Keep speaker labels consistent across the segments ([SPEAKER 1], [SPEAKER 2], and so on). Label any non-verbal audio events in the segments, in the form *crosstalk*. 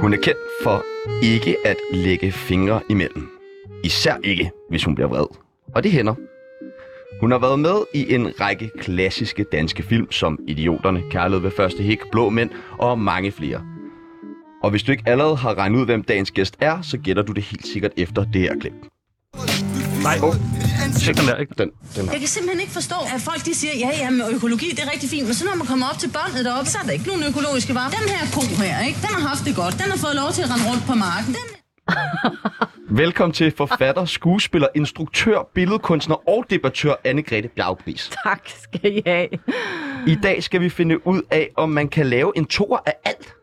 [SPEAKER 1] Hun er kendt for ikke at lægge fingre imellem. Især ikke, hvis hun bliver vred. Og det hænder. Hun har været med i en række klassiske danske film, som Idioterne, Kærlighed ved første hik, Blå Mænd og mange flere. Og hvis du ikke allerede har regnet ud, hvem dagens gæst er, så gætter du det helt sikkert efter det her klip.
[SPEAKER 2] Nej, oh. Tjek den der, ikke?
[SPEAKER 1] Den, den her.
[SPEAKER 3] Jeg kan simpelthen ikke forstå, at folk de siger, ja, ja, men økologi, det er rigtig fint, men så når man kommer op til båndet deroppe, så er der ikke nogen økologiske varer. Den her ko her, ikke? Den har haft det godt. Den har fået lov til at rende rundt på marken. Den...
[SPEAKER 1] Velkommen til forfatter, skuespiller, instruktør, billedkunstner og debattør Anne-Grethe Bjaugris.
[SPEAKER 4] Tak skal I have.
[SPEAKER 1] I dag skal vi finde ud af, om man kan lave en toer af alt.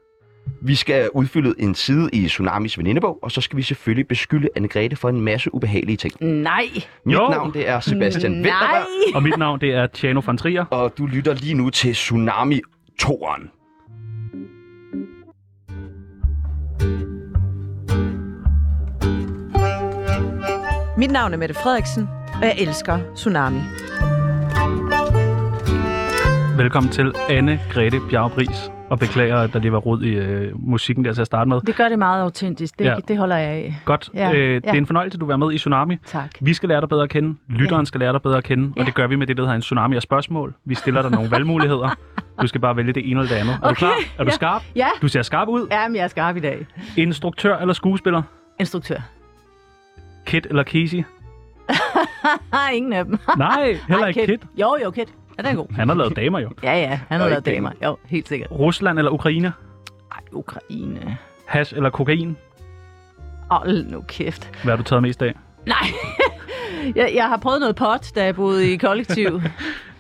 [SPEAKER 1] Vi skal have udfyldet en side i Tsunamis venindebog, og så skal vi selvfølgelig beskylde Anne-Grethe for en masse ubehagelige ting.
[SPEAKER 4] Nej.
[SPEAKER 1] Mit
[SPEAKER 2] Jo.
[SPEAKER 1] navn det er Sebastian
[SPEAKER 4] Nej.
[SPEAKER 1] Vinterberg,
[SPEAKER 2] Og mit navn, det er Tjano van Trier.
[SPEAKER 1] og du lytter lige nu til Tsunami 2'eren.
[SPEAKER 5] Mit navn er Mette Frederiksen, og jeg elsker Tsunami.
[SPEAKER 2] Velkommen til Anne Grete Bjergbris. Og beklager, at der lige var rod i øh, musikken der til at starte med.
[SPEAKER 4] Det gør det meget autentisk. Det,
[SPEAKER 2] Ja.
[SPEAKER 4] ja. det holder jeg af.
[SPEAKER 2] Godt.
[SPEAKER 4] Ja,
[SPEAKER 2] øh, Det
[SPEAKER 4] ja.
[SPEAKER 2] er en fornøjelse, at du var med i Tsunami.
[SPEAKER 4] Tak.
[SPEAKER 2] Vi skal lære dig bedre at kende. Lytteren skal lære dig bedre at kende. Og det gør vi med det, der hedder en tsunami af spørgsmål. Vi stiller dig nogle valgmuligheder. Du skal bare vælge det ene eller det andet. Er du
[SPEAKER 4] Okay,
[SPEAKER 2] klar? Er du
[SPEAKER 4] ja.
[SPEAKER 2] skarp?
[SPEAKER 4] Ja.
[SPEAKER 2] Du ser skarp ud.
[SPEAKER 4] Jamen, jeg er skarp i dag.
[SPEAKER 2] Instruktør eller skuespiller?
[SPEAKER 4] Instruktør.
[SPEAKER 2] Kit eller Casey?
[SPEAKER 4] Nej, ingen af dem.
[SPEAKER 2] Nej, heller ikke Kit.
[SPEAKER 4] Jo, jo, Kit. Ja, den er god.
[SPEAKER 2] Han har lavet damer jo.
[SPEAKER 4] Ja, ja, han har
[SPEAKER 1] Og
[SPEAKER 4] lavet
[SPEAKER 1] ikke
[SPEAKER 4] damer. Jo, helt sikkert.
[SPEAKER 2] Rusland eller Ukraine?
[SPEAKER 4] Ej, Ukraine.
[SPEAKER 2] Hash eller kokain?
[SPEAKER 4] Hold nu kæft.
[SPEAKER 2] Hvad har du taget mest af?
[SPEAKER 4] Nej. *laughs* jeg, jeg har prøvet noget pot, da jeg boede i
[SPEAKER 2] *laughs*
[SPEAKER 4] kollektiv.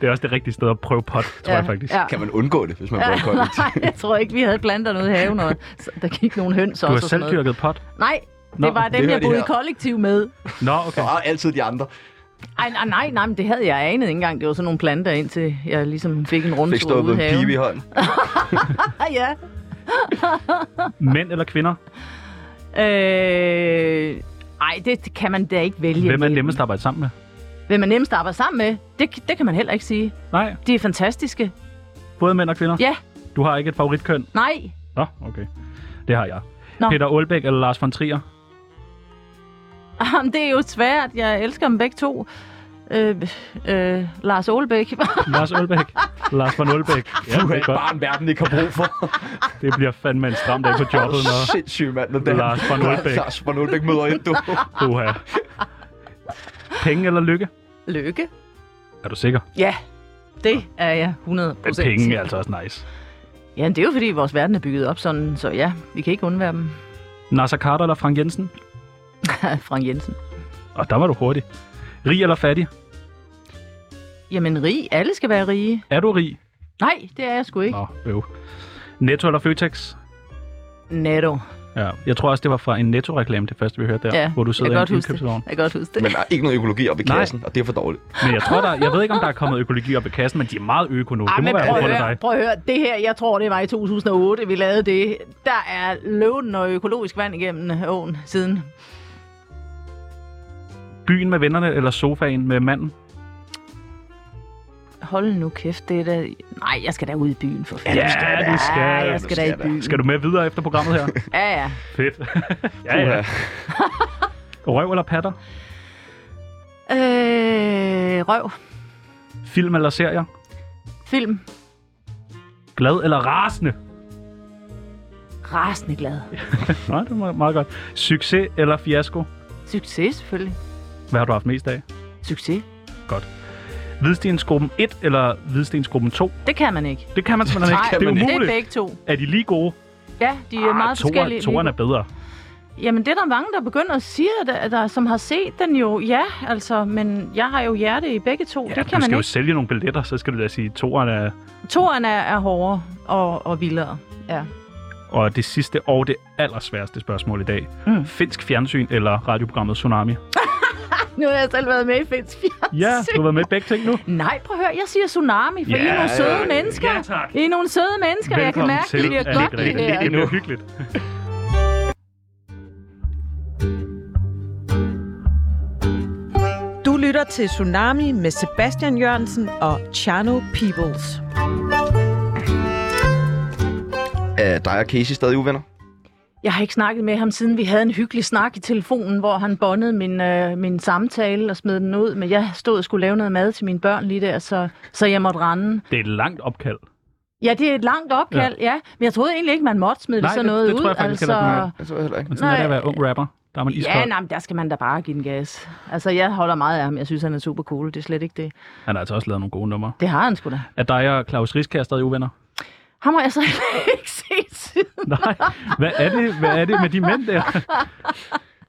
[SPEAKER 2] Det er også det rigtige sted at prøve pot, tror jeg faktisk.
[SPEAKER 4] Ja.
[SPEAKER 1] Kan man undgå det, hvis man bruger kollektiv?
[SPEAKER 4] *laughs* Nej, jeg tror ikke, vi havde planter noget i haven, og så, der gik nogle høns
[SPEAKER 2] Du
[SPEAKER 4] også.
[SPEAKER 2] har
[SPEAKER 4] og
[SPEAKER 2] selv
[SPEAKER 4] sådan noget.
[SPEAKER 2] dyrket pot?
[SPEAKER 4] Nej, det
[SPEAKER 2] Nå,
[SPEAKER 4] Nå, var
[SPEAKER 1] det
[SPEAKER 4] dem, jeg
[SPEAKER 1] hører de
[SPEAKER 4] boede i
[SPEAKER 1] her.
[SPEAKER 4] kollektiv med.
[SPEAKER 2] Nå, okay.
[SPEAKER 1] Og altid de andre.
[SPEAKER 4] Ej, nej, nej, nej, men det havde jeg anet ikke engang. Det var sådan nogle planter, indtil jeg ligesom fik en
[SPEAKER 1] Fik
[SPEAKER 4] rundtur
[SPEAKER 1] stået
[SPEAKER 4] ude i
[SPEAKER 1] en pibe i
[SPEAKER 4] haven.
[SPEAKER 1] hånden.
[SPEAKER 4] Ah, ja.
[SPEAKER 2] Mænd eller kvinder?
[SPEAKER 4] Øh, ej, det, det kan man da ikke vælge.
[SPEAKER 2] Hvem er
[SPEAKER 4] imellem.
[SPEAKER 2] nemmest at arbejde sammen med?
[SPEAKER 4] Hvem er nemmest at arbejde sammen med? Det, det kan man heller ikke sige.
[SPEAKER 2] Nej,
[SPEAKER 4] De er fantastiske.
[SPEAKER 2] både mænd og kvinder?
[SPEAKER 4] Ja,
[SPEAKER 2] Du har ikke et favoritkøn?
[SPEAKER 4] nej.
[SPEAKER 2] Nå, okay. Det har jeg.
[SPEAKER 4] Nå.
[SPEAKER 2] Peter Aalbæk eller Lars von Trier?
[SPEAKER 4] Jamen, Det er jo svært. Jeg elsker dem begge to. Øh, øh, Lars Olbæk.
[SPEAKER 2] Lars Aalbæk? Lars von Aalbæk? Ja,
[SPEAKER 1] Du
[SPEAKER 2] det
[SPEAKER 1] er
[SPEAKER 2] er godt.
[SPEAKER 1] bare en verden ikke har brug
[SPEAKER 2] *laughs*
[SPEAKER 1] for.
[SPEAKER 2] Det bliver fandme en stram dag på jobbet, når
[SPEAKER 1] Sindssyg mand, når det er.
[SPEAKER 2] Lars von Ulbæk.
[SPEAKER 1] *laughs* Lars von Ulbæk møder ind,
[SPEAKER 2] *laughs*
[SPEAKER 1] du.
[SPEAKER 2] du har... Penge eller lykke?
[SPEAKER 4] *laughs* Lykke.
[SPEAKER 2] Er du sikker?
[SPEAKER 4] Ja, det er jeg 100
[SPEAKER 2] Men penge er altså også nice.
[SPEAKER 4] Ja, men det er jo fordi, vores verden er bygget op sådan, så ja, vi kan ikke undvære dem.
[SPEAKER 2] Nasser Carter eller Frank Jensen?
[SPEAKER 4] *laughs* Frank Jensen.
[SPEAKER 2] Og der var du hurtig. Rig eller fattig?
[SPEAKER 4] Jamen rig, alle skal være rige.
[SPEAKER 2] Er du rig?
[SPEAKER 4] Nej, det er jeg sgu ikke.
[SPEAKER 2] Nå, øv. Netto eller Føtex?
[SPEAKER 4] Netto.
[SPEAKER 2] Ja, jeg tror også, det var fra en netto-reklame, det første, vi hørte der,
[SPEAKER 4] Ja,
[SPEAKER 2] hvor du
[SPEAKER 4] jeg kan
[SPEAKER 2] sidder
[SPEAKER 4] godt
[SPEAKER 2] i en
[SPEAKER 4] huske det.
[SPEAKER 2] indkøbsvogn.
[SPEAKER 4] Jeg kan godt huske det.
[SPEAKER 1] Men der er ikke noget økologi op i
[SPEAKER 2] Nej.
[SPEAKER 1] kassen, og det er for dårligt.
[SPEAKER 2] Men jeg tror, der, jeg ved ikke, om der er kommet økologi op i kassen, men de er meget øko nu. det må være på grund af dig.
[SPEAKER 4] prøv at høre, det her, jeg tror, det var i 2008, vi lavede det. Der er løven og økologisk vand igennem åen siden.
[SPEAKER 2] Byen med vennerne eller sofaen med manden?
[SPEAKER 4] Hold nu kæft, det er da... Nej, jeg skal da ud i byen for fanden.
[SPEAKER 2] Ja, du skal.
[SPEAKER 4] Ja, jeg skal da i
[SPEAKER 1] Du skal da.
[SPEAKER 4] byen.
[SPEAKER 2] Skal du med videre efter programmet
[SPEAKER 4] *laughs*
[SPEAKER 2] her?
[SPEAKER 4] Ja, ja.
[SPEAKER 2] Fedt. *laughs* ja, ja. Røv eller patter?
[SPEAKER 4] Øh, røv.
[SPEAKER 2] Film eller serier?
[SPEAKER 4] Film.
[SPEAKER 2] Glad eller rasende?
[SPEAKER 4] Rasende glad.
[SPEAKER 2] Nej, det var meget godt. Succes eller fiasko?
[SPEAKER 4] Succes, selvfølgelig.
[SPEAKER 2] Hvad har du haft mest af?
[SPEAKER 4] Succes.
[SPEAKER 2] Hvidstensgruppen 1 eller Hvidstensgruppen 2?
[SPEAKER 4] Det kan man ikke.
[SPEAKER 2] Det kan man simpelthen
[SPEAKER 4] *laughs* Nej,
[SPEAKER 2] ikke. Det er
[SPEAKER 4] det er
[SPEAKER 2] umuligt.
[SPEAKER 4] begge to.
[SPEAKER 2] Er de lige gode?
[SPEAKER 4] Ja, de
[SPEAKER 2] Ah,
[SPEAKER 4] er meget
[SPEAKER 2] toeren-
[SPEAKER 4] forskellige.
[SPEAKER 2] toeren er bedre.
[SPEAKER 4] Jamen, det er der mange, der begynder at sige, der, der, som har set den jo. Ja, altså, men jeg har jo hjerte i begge to. Ja, det
[SPEAKER 2] du
[SPEAKER 4] kan
[SPEAKER 2] skal
[SPEAKER 4] man
[SPEAKER 2] jo
[SPEAKER 4] ikke.
[SPEAKER 2] sælge nogle billetter, så skal du da sige, toeren er...
[SPEAKER 4] Toren er, er hårdere og, og vildere. Ja.
[SPEAKER 2] Og det sidste og det allersværeste spørgsmål i dag. Mm. Finsk fjernsyn eller radioprogrammet Tsunami?
[SPEAKER 4] Nu har jeg selv været med i Finsk Fjernsyn.
[SPEAKER 2] Ja, du har været med i begge ting nu.
[SPEAKER 4] Nej, prøv at høre, jeg siger tsunami, for
[SPEAKER 2] Ja,
[SPEAKER 4] I er nogle søde
[SPEAKER 1] ja,
[SPEAKER 4] mennesker.
[SPEAKER 2] ja, tak.
[SPEAKER 4] I er nogle søde mennesker, og jeg kan mærke, at I er godt øh,
[SPEAKER 2] Anne-Grethe.
[SPEAKER 4] det her.
[SPEAKER 2] Det bliver hyggeligt.
[SPEAKER 5] Du lytter til Tsunami med Sebastian Jørgensen og Chano Peoples.
[SPEAKER 1] Er dig og Casey stadig uvenner?
[SPEAKER 4] Jeg har ikke snakket med ham, siden vi havde en hyggelig snak i telefonen, hvor han bondede min, øh, min samtale og smed den ud. Men jeg stod og skulle lave noget mad til mine børn lige der, så, så jeg måtte rende.
[SPEAKER 2] Det er et langt opkald.
[SPEAKER 4] Ja, det er et langt opkald, ja. ja. Men jeg troede egentlig ikke, man måtte smide
[SPEAKER 2] Nej,
[SPEAKER 4] sådan
[SPEAKER 2] det-
[SPEAKER 4] noget
[SPEAKER 2] det
[SPEAKER 4] ud.
[SPEAKER 2] tror jeg faktisk heller ikke, nej.
[SPEAKER 1] Jeg tror jeg heller ikke.
[SPEAKER 2] Men sådan er det at
[SPEAKER 4] Nej.
[SPEAKER 2] være ung rapper. Der er man iskold.
[SPEAKER 4] Ja, nej, men der skal man da bare give den gas. Altså, jeg holder meget af ham. Jeg synes, han er super cool. Det er slet ikke det.
[SPEAKER 2] Han har altså også lavet nogle gode numre.
[SPEAKER 4] Det har han sgu da.
[SPEAKER 2] Er dig og Claus Riskær stadig uvenner? *laughs*
[SPEAKER 4] Ham har jeg så *laughs* ikke set siden.
[SPEAKER 2] Nej. Hvad er det, hvad er det med de mænd
[SPEAKER 4] *laughs*
[SPEAKER 2] der?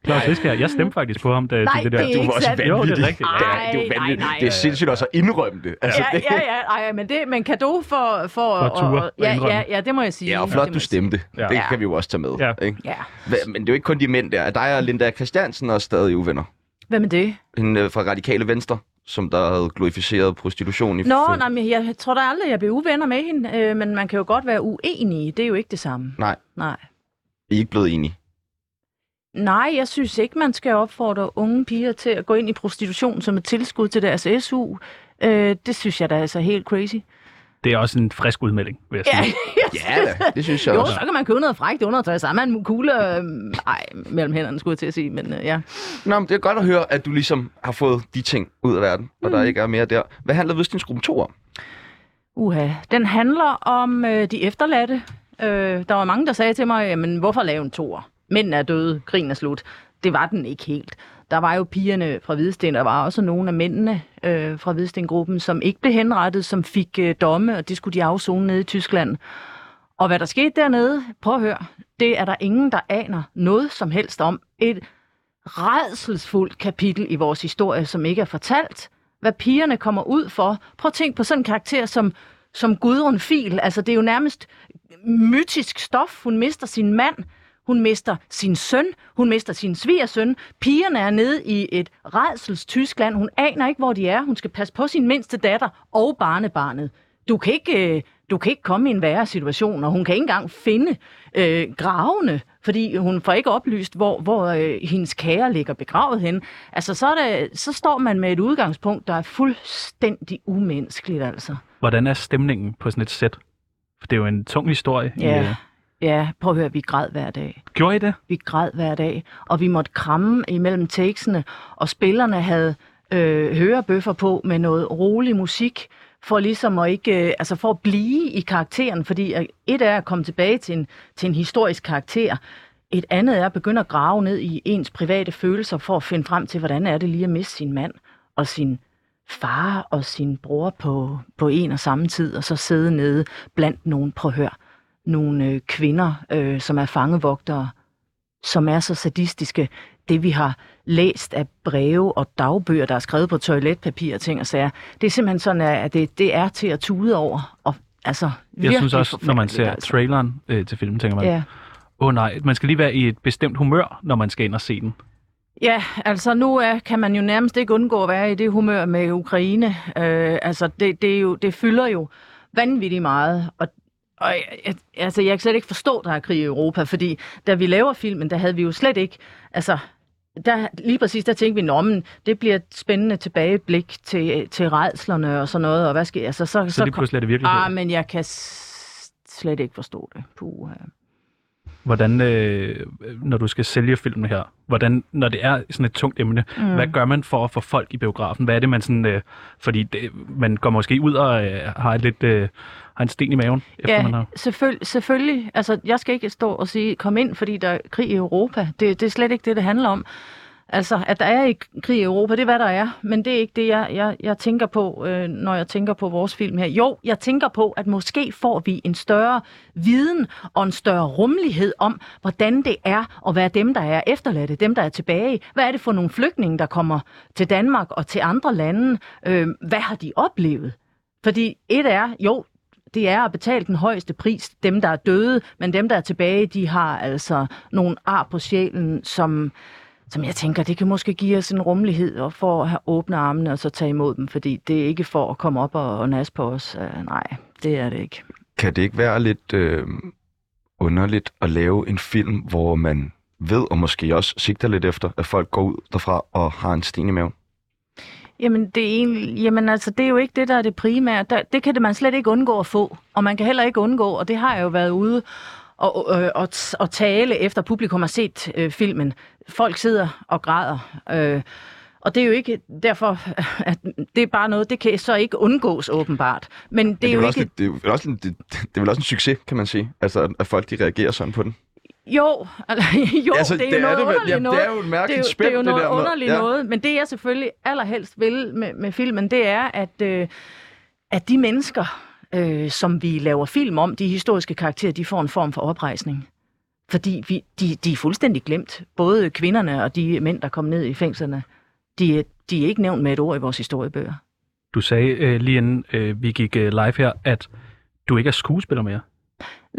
[SPEAKER 2] Claus Riskær, jeg stemte faktisk på ham, da
[SPEAKER 4] Nej,
[SPEAKER 2] til det der.
[SPEAKER 4] det er
[SPEAKER 1] Det
[SPEAKER 2] Du-
[SPEAKER 1] var
[SPEAKER 4] Ikke
[SPEAKER 1] også
[SPEAKER 4] sandt.
[SPEAKER 1] vanvittigt.
[SPEAKER 2] Jo, det er rigtigt.
[SPEAKER 1] Det er, det er jo
[SPEAKER 4] Ej,
[SPEAKER 1] vanvittigt.
[SPEAKER 4] nej, nej.
[SPEAKER 1] Det er sindssygt også at indrømme det. Altså,
[SPEAKER 4] Ja,
[SPEAKER 1] det,
[SPEAKER 4] ja, ja. Ej, men, det, men kado for... For,
[SPEAKER 2] at ture og
[SPEAKER 4] ja,
[SPEAKER 2] indrømme.
[SPEAKER 4] ja, ja, det må jeg sige.
[SPEAKER 1] ja, og
[SPEAKER 4] Det
[SPEAKER 1] flot,
[SPEAKER 4] må
[SPEAKER 1] du
[SPEAKER 4] jeg sige.
[SPEAKER 1] stemte.
[SPEAKER 2] Ja.
[SPEAKER 1] Det
[SPEAKER 4] Ja.
[SPEAKER 1] kan vi jo også tage med.
[SPEAKER 2] Ja.
[SPEAKER 1] Ikke?
[SPEAKER 4] Ja.
[SPEAKER 1] Hva- Men det er jo ikke kun de mænd der. Er Dig og Linda Christiansen er stadig uvenner.
[SPEAKER 4] Hvad med det?
[SPEAKER 1] Hende øh, fra Radikale Venstre, som der havde glorificeret prostitution i...
[SPEAKER 4] Nå,
[SPEAKER 1] fem-
[SPEAKER 4] nej, men jeg tror da aldrig, jeg bliver uvenner med hende, øh, men man kan jo godt være uenig. Det er jo ikke det samme.
[SPEAKER 1] Nej,
[SPEAKER 4] Nej.
[SPEAKER 1] I er ikke blevet enige.
[SPEAKER 4] Nej, jeg synes ikke, man skal opfordre unge piger til at gå ind i prostitution som et tilskud til deres SU. Øh, det synes jeg da altså er helt crazy.
[SPEAKER 2] Det er også en frisk udmelding, vil jeg
[SPEAKER 4] Ja,
[SPEAKER 2] sige.
[SPEAKER 1] Ja da, det synes jeg
[SPEAKER 4] jo,
[SPEAKER 1] også.
[SPEAKER 4] så kan man købe noget frækt undertøj sammen med en kugle. Øh, ej, mellem hænderne skulle jeg til at sige, men øh, ja.
[SPEAKER 1] Nå, men det er godt at høre, at du ligesom har fået de ting ud af verden,
[SPEAKER 4] Mm.
[SPEAKER 1] og der ikke er mere der. Hvad handler Vedstensgruppen 2 om?
[SPEAKER 4] Uha, den handler om øh, de efterladte. Øh, der var mange, der sagde til mig, jamen hvorfor lave en toer? Mændene er døde, krigen er slut. Det var den ikke helt. Der var jo pigerne fra Hvidsten, der var også nogle af mændene øh, fra Hvidsten-gruppen, som ikke blev henrettet, som fik øh, domme, og det skulle de afzone nede i Tyskland. Og hvad der skete dernede, prøv at høre, det er der ingen, der aner noget som helst om. Et redselsfuldt kapitel i vores historie, som ikke er fortalt. Hvad pigerne kommer ud for. Prøv at tænke på sådan en karakter som, som Gudrun Fil. Altså, det er jo nærmest mytisk stof. Hun mister sin mand. Hun mister sin søn. Hun mister sin svigersøn. Pigerne er nede i et redsels Tyskland. Hun aner ikke, hvor de er. Hun skal passe på sin mindste datter og barnebarnet. Du kan ikke... øh, du kan ikke komme i en værre situation, og hun kan ikke engang finde øh, gravene, fordi hun får ikke oplyst, hvor, hvor øh, hendes kære ligger begravet henne. Altså, så, er det, så står man med et udgangspunkt, der er fuldstændig umenneskeligt, altså.
[SPEAKER 2] Hvordan er stemningen på sådan et sæt? For det er jo en tung historie. i,
[SPEAKER 4] Ja.
[SPEAKER 2] øh,
[SPEAKER 4] Ja, prøv at høre, vi græd hver dag.
[SPEAKER 2] Gjorde I det?
[SPEAKER 4] Vi græd hver dag, og vi måtte kramme imellem takesene, og spillerne havde øh, hørebøffer på med noget rolig musik, for ligesom at ikke, øh, altså for at blive i karakteren, fordi øh, et er at komme tilbage til en, til en historisk karakter, et andet er at begynde at grave ned i ens private følelser for at finde frem til, hvordan er det lige at miste sin mand og sin far og sin bror på, på en og samme tid, og så sidde nede blandt nogen, prøv at høre, nogle øh, kvinder, øh, som er fangevogtere, som er så sadistiske. Det, vi har læst af breve og dagbøger, der er skrevet på toiletpapir og ting og sager, det er simpelthen sådan, at det, det er til at tude over. Og, altså,
[SPEAKER 2] Jeg
[SPEAKER 4] virkelig
[SPEAKER 2] synes også, når man ser
[SPEAKER 4] forfærdeligt,
[SPEAKER 2] altså. traileren øh, til filmen, tænker man, åh
[SPEAKER 4] Ja.
[SPEAKER 2] oh, nej, man skal lige være i et bestemt humør, når man skal ind og se den.
[SPEAKER 4] Ja, altså nu er, kan man jo nærmest ikke undgå at være i det humør med Ukraine. Øh, altså det, det, er jo, det fylder jo vanvittigt meget, og, og jeg- jeg, altså jeg kan slet ikke forstå, der er krig i Europa, fordi da vi laver filmen, der havde vi jo slet ikke, altså der, lige præcis der tænkte vi, nå, men det bliver et spændende tilbageblik til, til redslerne og sådan noget, og hvad sker, altså så,
[SPEAKER 2] Så, så lige pludselig er det virkelig.
[SPEAKER 4] ah, men jeg kan s- slet ikke forstå det. Puh, ja.
[SPEAKER 2] Hvordan, øh, når du skal sælge filmen her, hvordan, når det er sådan et tungt emne, mm. hvad gør man for at få folk i biografen? Hvad er det, man sådan, øh, fordi det, man går måske ud og øh, har et lidt, øh, har en sten i maven, efter man har...
[SPEAKER 4] Selvfølgelig, selvfølgelig. Altså, jeg skal ikke stå og sige, kom ind, fordi der er krig i Europa. Det, det er slet ikke det, det handler om. Altså, at der er ikke krig i Europa, det er, hvad der er. Men det er ikke det, jeg, jeg, jeg tænker på, øh, når jeg tænker på vores film her. Jo, jeg tænker på, at måske får vi en større viden og en større rummelighed om, hvordan det er at være dem, der er efterladte, dem, der er tilbage. Hvad er det for nogle flygtninge, der kommer til Danmark og til andre lande? Øh, hvad har de oplevet? Fordi et er, jo, det er at betale den højeste pris, dem der er døde, men dem der er tilbage, de har altså nogle ar på sjælen, som, som jeg tænker, det kan måske give os en rummelighed og for at have åbne armene og så tage imod dem, fordi det er ikke for at komme op og, og nas på os. Uh, nej, det er det ikke.
[SPEAKER 1] Kan det ikke være lidt øh, underligt at lave en film, hvor man ved og måske også sigter lidt efter, at folk går ud derfra og har en sten i maven?
[SPEAKER 4] Jamen, det er, egentlig, jamen altså, det er jo ikke det, der er det primære. Der, det kan det man slet ikke undgå at få, og man kan heller ikke undgå, og det har jeg jo været ude og, øh, og, t- og tale efter publikum har set øh, filmen. Folk sidder og græder. Øh, og det er jo ikke derfor, *laughs* at det er bare noget, det kan så ikke undgås åbenbart. Men det,
[SPEAKER 1] Men
[SPEAKER 4] er
[SPEAKER 1] vel
[SPEAKER 4] jo
[SPEAKER 1] også,
[SPEAKER 4] ikke...
[SPEAKER 1] lidt- det, er vel også, en- det, det er vel også en succes, kan man sige, altså, at- at folk de reagerer sådan på den.
[SPEAKER 4] Jo, *laughs* altså, jo
[SPEAKER 1] Altså,
[SPEAKER 4] det er
[SPEAKER 1] det
[SPEAKER 4] jo
[SPEAKER 1] er
[SPEAKER 4] noget
[SPEAKER 1] det vel.
[SPEAKER 4] underligt
[SPEAKER 1] Jamen, det
[SPEAKER 4] noget.
[SPEAKER 1] er jo et mærkeligt
[SPEAKER 4] det er jo,
[SPEAKER 1] spil,
[SPEAKER 4] det er jo
[SPEAKER 1] det
[SPEAKER 4] noget
[SPEAKER 1] der med-
[SPEAKER 4] underligt
[SPEAKER 1] ja.
[SPEAKER 4] noget, men det jeg selvfølgelig allerhelst vil med, med filmen, det er, at, øh, at de mennesker, øh, som vi laver film om, de historiske karakterer, de får en form for oprejsning. Fordi vi, de, de er fuldstændig glemt. Både kvinderne og de mænd, der kom ned i fængslerne, de, er- de er ikke nævnt med et ord i vores historiebøger.
[SPEAKER 2] Du sagde øh, lige inden øh, vi gik øh, live her, at du ikke er skuespiller mere.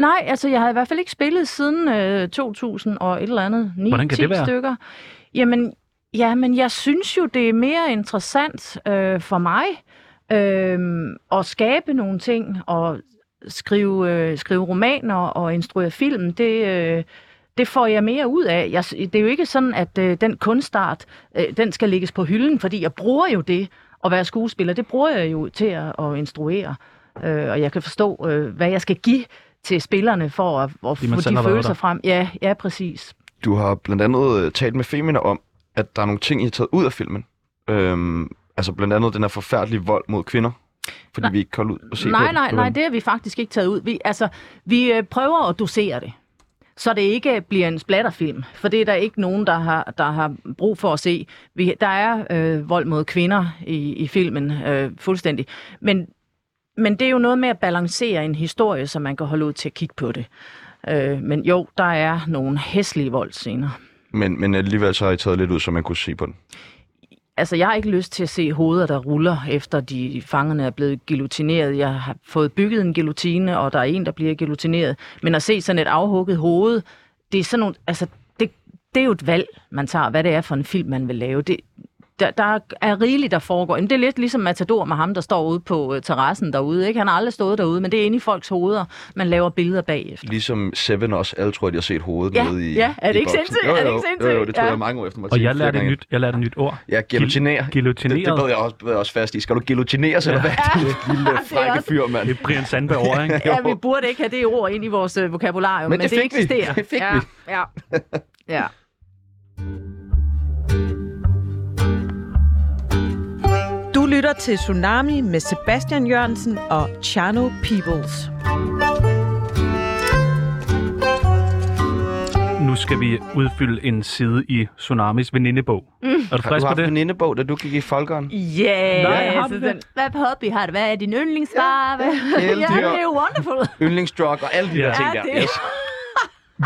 [SPEAKER 4] Nej, altså jeg har i hvert fald ikke spillet siden øh, 2000 og et eller andet. 9,
[SPEAKER 2] Hvordan kan
[SPEAKER 4] 10
[SPEAKER 2] det være?
[SPEAKER 4] stykker. Jamen, ja, men jeg synes jo, det er mere interessant øh, for mig øh, at skabe nogle ting og skrive, øh, skrive romaner og instruere film. Det, øh, det får jeg mere ud af. Jeg, s- det er jo ikke sådan, at øh, den kunstart, øh, den skal lægges på hylden, fordi jeg bruger jo det at være skuespiller. Det bruger jeg jo til at, at instruere. Øh, og jeg kan forstå, øh, hvad jeg skal give til spillerne for at, at
[SPEAKER 2] man
[SPEAKER 4] få
[SPEAKER 2] selv har
[SPEAKER 4] de
[SPEAKER 2] været
[SPEAKER 4] følelser
[SPEAKER 2] der.
[SPEAKER 4] frem. Ja, ja, præcis.
[SPEAKER 1] Du har blandt andet øh, talt med Femina om, at der er nogle ting, I har taget ud af filmen. Øhm, altså blandt andet den her forfærdelige vold mod kvinder, fordi nej, vi ikke kan holde ud og se på
[SPEAKER 4] Nej,
[SPEAKER 1] den.
[SPEAKER 4] nej, nej, det har vi faktisk ikke taget ud. Vi, altså, vi øh, prøver at dosere det, så det ikke bliver en splatterfilm, for det er der ikke nogen, der har, der har brug for at se. Vi, der er øh, vold mod kvinder i, i filmen, øh, fuldstændig. Men, men det er jo noget med at balancere en historie, så man kan holde ud til at kigge på det. Øh, men jo, der er nogle hæslige voldscener.
[SPEAKER 1] Men, men alligevel så har I taget lidt ud, så man kunne se på den.
[SPEAKER 4] Altså, jeg har ikke lyst til at se hoveder, der ruller, efter de fangerne er blevet guillotineret. Jeg har fået bygget en guillotine, og der er en, der bliver guillotineret. Men at se sådan et afhugget hoved, det er sådan nogle, altså, det, det er jo et valg, man tager, hvad det er for en film, man vil lave. Det, der, der er rigeligt, der foregår. Jamen, det er lidt ligesom Matador med ham, der står ude på øh, terrassen derude. Ikke? Han har aldrig stået derude, men det er inde i folks hoveder, man laver billeder bagefter.
[SPEAKER 1] Ligesom Seven også, alle tror, at de har set hovedet
[SPEAKER 4] Ja,
[SPEAKER 1] nede i
[SPEAKER 4] ja, er det
[SPEAKER 1] i
[SPEAKER 4] ikke
[SPEAKER 1] boksen.
[SPEAKER 4] sindssygt?
[SPEAKER 1] Jo, jo,
[SPEAKER 4] Er det ikke
[SPEAKER 1] Jo, jo,
[SPEAKER 4] sindssygt?
[SPEAKER 1] det tog
[SPEAKER 4] Ja.
[SPEAKER 1] jeg mange år efter mig.
[SPEAKER 2] Og jeg lærte, et nyt, jeg lærte et nyt ord.
[SPEAKER 1] Ja, guillotinere.
[SPEAKER 2] guillotineret.
[SPEAKER 1] Det, det ved jeg også, ved jeg også fast i. Skal du guillotineres, eller hvad?
[SPEAKER 4] *laughs*
[SPEAKER 1] Du lille frække
[SPEAKER 4] også-
[SPEAKER 1] fyr, mand.
[SPEAKER 2] Det er Brian Sandberg over, ikke?
[SPEAKER 4] Ja, vi burde ikke have det ord ind i vores øh, vokabularium,
[SPEAKER 1] Men
[SPEAKER 4] men,
[SPEAKER 1] det
[SPEAKER 4] det
[SPEAKER 1] fik vi.
[SPEAKER 4] eksisterer.
[SPEAKER 1] Det fik
[SPEAKER 4] ja,
[SPEAKER 1] vi.
[SPEAKER 4] ja, ja.
[SPEAKER 5] Du lytter til Tsunami med Sebastian Jørgensen og Chano Peoples.
[SPEAKER 2] Nu skal vi udfylde en side i Tsunamis venindebog. Mm. Er du
[SPEAKER 1] Har du
[SPEAKER 2] frisk på
[SPEAKER 1] haft en
[SPEAKER 2] det?
[SPEAKER 1] venindebog, da du gik i folkeren?
[SPEAKER 4] Ja,
[SPEAKER 2] Nej, har
[SPEAKER 4] så
[SPEAKER 2] du det?
[SPEAKER 4] den- Hvad på hobby har du? Hvad er din yndlingsfarve? *laughs* Ja,
[SPEAKER 1] kæledyr.
[SPEAKER 4] det er jo wonderful.
[SPEAKER 1] Yndlingsdrug og alle de
[SPEAKER 2] Ja.
[SPEAKER 1] der ting
[SPEAKER 4] Ja,
[SPEAKER 1] der.
[SPEAKER 4] det-
[SPEAKER 1] Yes.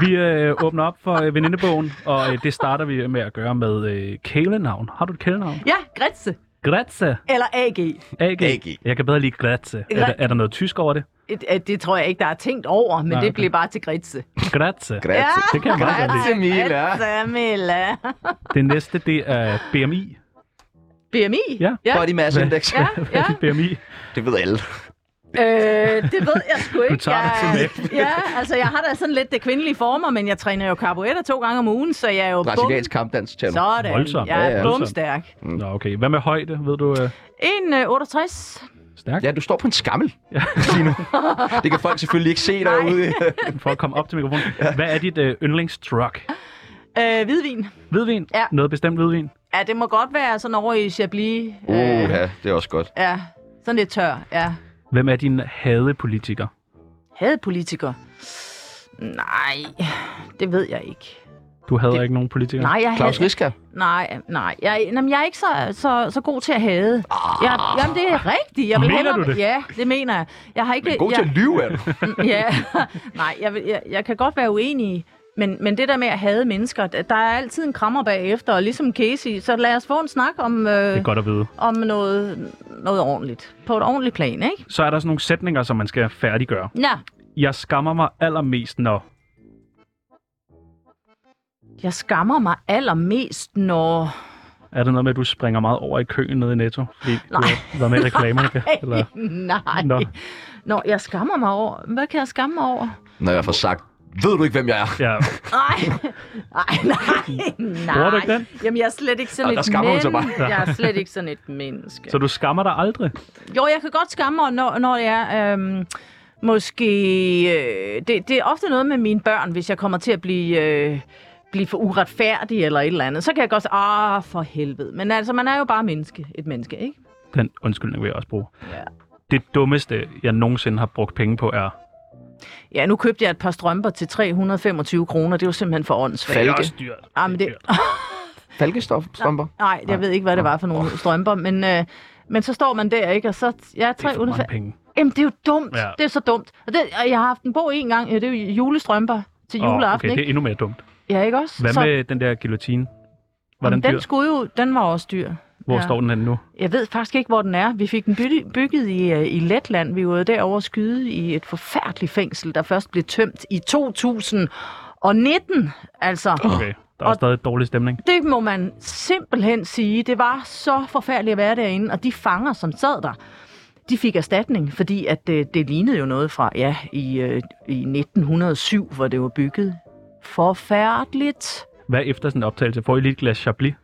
[SPEAKER 2] Vi øh, åbner op for øh, venindebogen, og øh, det starter vi med at gøre med øh, kælenavn. Har du et kælenavn?
[SPEAKER 4] *laughs* Ja, Gretze.
[SPEAKER 2] Gretze.
[SPEAKER 4] Eller AG.
[SPEAKER 2] AG.
[SPEAKER 1] AG.
[SPEAKER 2] Jeg kan bedre lide Gretze. Er der, er der noget tysk over det?
[SPEAKER 4] Et- et- Det tror jeg ikke, der er tænkt over, men
[SPEAKER 2] Nej,
[SPEAKER 4] det
[SPEAKER 2] okay.
[SPEAKER 4] blev bare til Gretze.
[SPEAKER 2] Gretze.
[SPEAKER 1] Grazie.
[SPEAKER 2] Det kan jeg meget godt lide.
[SPEAKER 1] Grazie mille.
[SPEAKER 4] Gretze, Milla.
[SPEAKER 2] Det næste, det er BMI.
[SPEAKER 4] BMI?
[SPEAKER 2] Ja.
[SPEAKER 4] ja.
[SPEAKER 1] Body mass
[SPEAKER 2] Hvad?
[SPEAKER 1] index.
[SPEAKER 4] *laughs* Ja, ja.
[SPEAKER 2] BMI.
[SPEAKER 1] Det ved alle.
[SPEAKER 4] Øh, det ved jeg sgu ikke.
[SPEAKER 2] tager det
[SPEAKER 4] jeg,
[SPEAKER 2] til
[SPEAKER 4] ja, altså jeg har da sådan lidt det kvindelige former, men jeg træner jo carburetter to gange om ugen, så jeg er jo bum.
[SPEAKER 1] Brasiliansk kampdans, tjener.
[SPEAKER 4] Sådan,
[SPEAKER 2] Voldsomt.
[SPEAKER 4] jeg
[SPEAKER 1] Ja,
[SPEAKER 4] er
[SPEAKER 1] ja.
[SPEAKER 4] bumstærk.
[SPEAKER 2] Nå, okay. Hvad med højde? Ved du øh,
[SPEAKER 4] 1,68.
[SPEAKER 2] stærkt?
[SPEAKER 1] Ja, du står på en skammel, Signe. Det kan folk selvfølgelig
[SPEAKER 4] *laughs*
[SPEAKER 1] ikke se derude.
[SPEAKER 2] For at komme op til mikrofonen. Hvad er dit øh, yndlingsdrug?
[SPEAKER 4] Øh, hvidvin.
[SPEAKER 2] Hvidvin?
[SPEAKER 4] Ja.
[SPEAKER 2] Noget bestemt hvidvin?
[SPEAKER 4] Ja, det må godt være sådan over i Chablis. øh,
[SPEAKER 1] Uh, ja, det er også godt.
[SPEAKER 4] Ja, sådan lidt tør, ja.
[SPEAKER 2] Hvem er din hadepolitiker?
[SPEAKER 4] Havde politiker? Nej, det ved jeg ikke.
[SPEAKER 2] Du hader det... ikke nogen politikere?
[SPEAKER 4] Nej, jeg
[SPEAKER 1] Claus
[SPEAKER 4] havde,
[SPEAKER 1] Riska.
[SPEAKER 4] nej, nej. Jeg, jamen, jeg er ikke så, så, så god til at hade. Jeg, jamen, det er rigtigt. Jeg vil
[SPEAKER 2] Ah. Mener
[SPEAKER 4] hellere,
[SPEAKER 2] du det?
[SPEAKER 4] Ja, det mener jeg. Jeg har ikke...
[SPEAKER 1] God til
[SPEAKER 4] jeg, *laughs*
[SPEAKER 1] at lyve, er du.
[SPEAKER 4] ja, nej, jeg, vil- jeg, jeg kan godt være uenig i, men, men det der med at hade mennesker, der der er altid en krammer bagefter, og ligesom Casey, så lad os få en snak om,
[SPEAKER 2] Det
[SPEAKER 4] øh,
[SPEAKER 2] er godt at vide.
[SPEAKER 4] om noget, noget ordentligt. På et ordentligt plan, ikke?
[SPEAKER 2] Så er der sådan nogle sætninger, som man skal færdiggøre.
[SPEAKER 4] Ja,
[SPEAKER 2] Jeg skammer mig allermest, når...
[SPEAKER 4] jeg skammer mig allermest, når...
[SPEAKER 2] Er det noget med, at du springer meget over i køen nede i Netto? Fordi
[SPEAKER 4] *laughs* Nej.
[SPEAKER 2] Du har været med i reklamerne? Eller...
[SPEAKER 4] Nej.
[SPEAKER 2] Nå.
[SPEAKER 4] Nå. Nå, jeg skammer mig over. Hvad kan jeg skamme mig over?
[SPEAKER 1] Når jeg får sagt, ved du ikke, hvem jeg er?
[SPEAKER 2] Ja,
[SPEAKER 4] Nej, nej, nej, nej.
[SPEAKER 2] Bruger du ikke den?
[SPEAKER 4] Jamen, jeg er slet ikke sådan
[SPEAKER 1] Ej, der
[SPEAKER 4] et
[SPEAKER 1] skammer hun sig
[SPEAKER 4] menneske. Jeg er slet ikke sådan et menneske.
[SPEAKER 2] så du skammer dig aldrig?
[SPEAKER 4] Jo, jeg kan godt skamme mig, når, når jeg øhm, måske... Øh, det, det er ofte noget med mine børn, hvis jeg kommer til at blive... Øh, blive for uretfærdig eller et eller andet, så kan jeg godt sige, ah, for helvede. Men altså, man er jo bare menneske, et menneske, ikke?
[SPEAKER 2] Den undskyldning vil jeg også bruge.
[SPEAKER 4] Ja.
[SPEAKER 2] Det dummeste, jeg nogensinde har brugt penge på, er...
[SPEAKER 4] Ja, nu købte jeg et par strømper til 325 kroner. Det var simpelthen for åndssvagt.
[SPEAKER 1] Falke.
[SPEAKER 2] dyrt.
[SPEAKER 4] Ah, men det,
[SPEAKER 1] Falkestof, strømper.
[SPEAKER 4] nej, jeg ved ikke, hvad det var for nogle strømper, men, øh, men så står man der, ikke? Og så, ja,
[SPEAKER 2] Det er for mange
[SPEAKER 4] 325...
[SPEAKER 2] penge.
[SPEAKER 4] Jamen, det er jo dumt.
[SPEAKER 2] Ja.
[SPEAKER 4] Ja. Det er så dumt. Og, det, og jeg har haft en bog en gang, ja, det er jo julestrømper til
[SPEAKER 2] Åh,
[SPEAKER 4] juleaften,
[SPEAKER 2] okay, det
[SPEAKER 4] ikke?
[SPEAKER 2] er endnu mere dumt.
[SPEAKER 4] Ja, ikke også?
[SPEAKER 2] Hvad
[SPEAKER 4] så,
[SPEAKER 2] med den der guillotine? Var den dyr?
[SPEAKER 4] Jamen, den skulle jo, den var også dyr.
[SPEAKER 2] Hvor
[SPEAKER 4] ja.
[SPEAKER 2] står den henne nu?
[SPEAKER 4] Jeg ved faktisk ikke, hvor den er. Vi fik den byg- bygget i, øh, i Letland. Vi var derovre skyde i et forfærdeligt fængsel, der først blev tømt i 2019. Altså,
[SPEAKER 2] Okay, der er
[SPEAKER 4] Og-
[SPEAKER 2] stadig dårlig stemning.
[SPEAKER 4] det må man simpelthen sige. Det var så forfærdeligt at være derinde, og de fanger, som sad der, de fik erstatning, fordi at det, det lignede jo noget fra, ja, i, øh, i 1907, hvor det var bygget. Forfærdeligt.
[SPEAKER 2] Hvad efter sådan en optagelse? Får I lige et glas Chablis?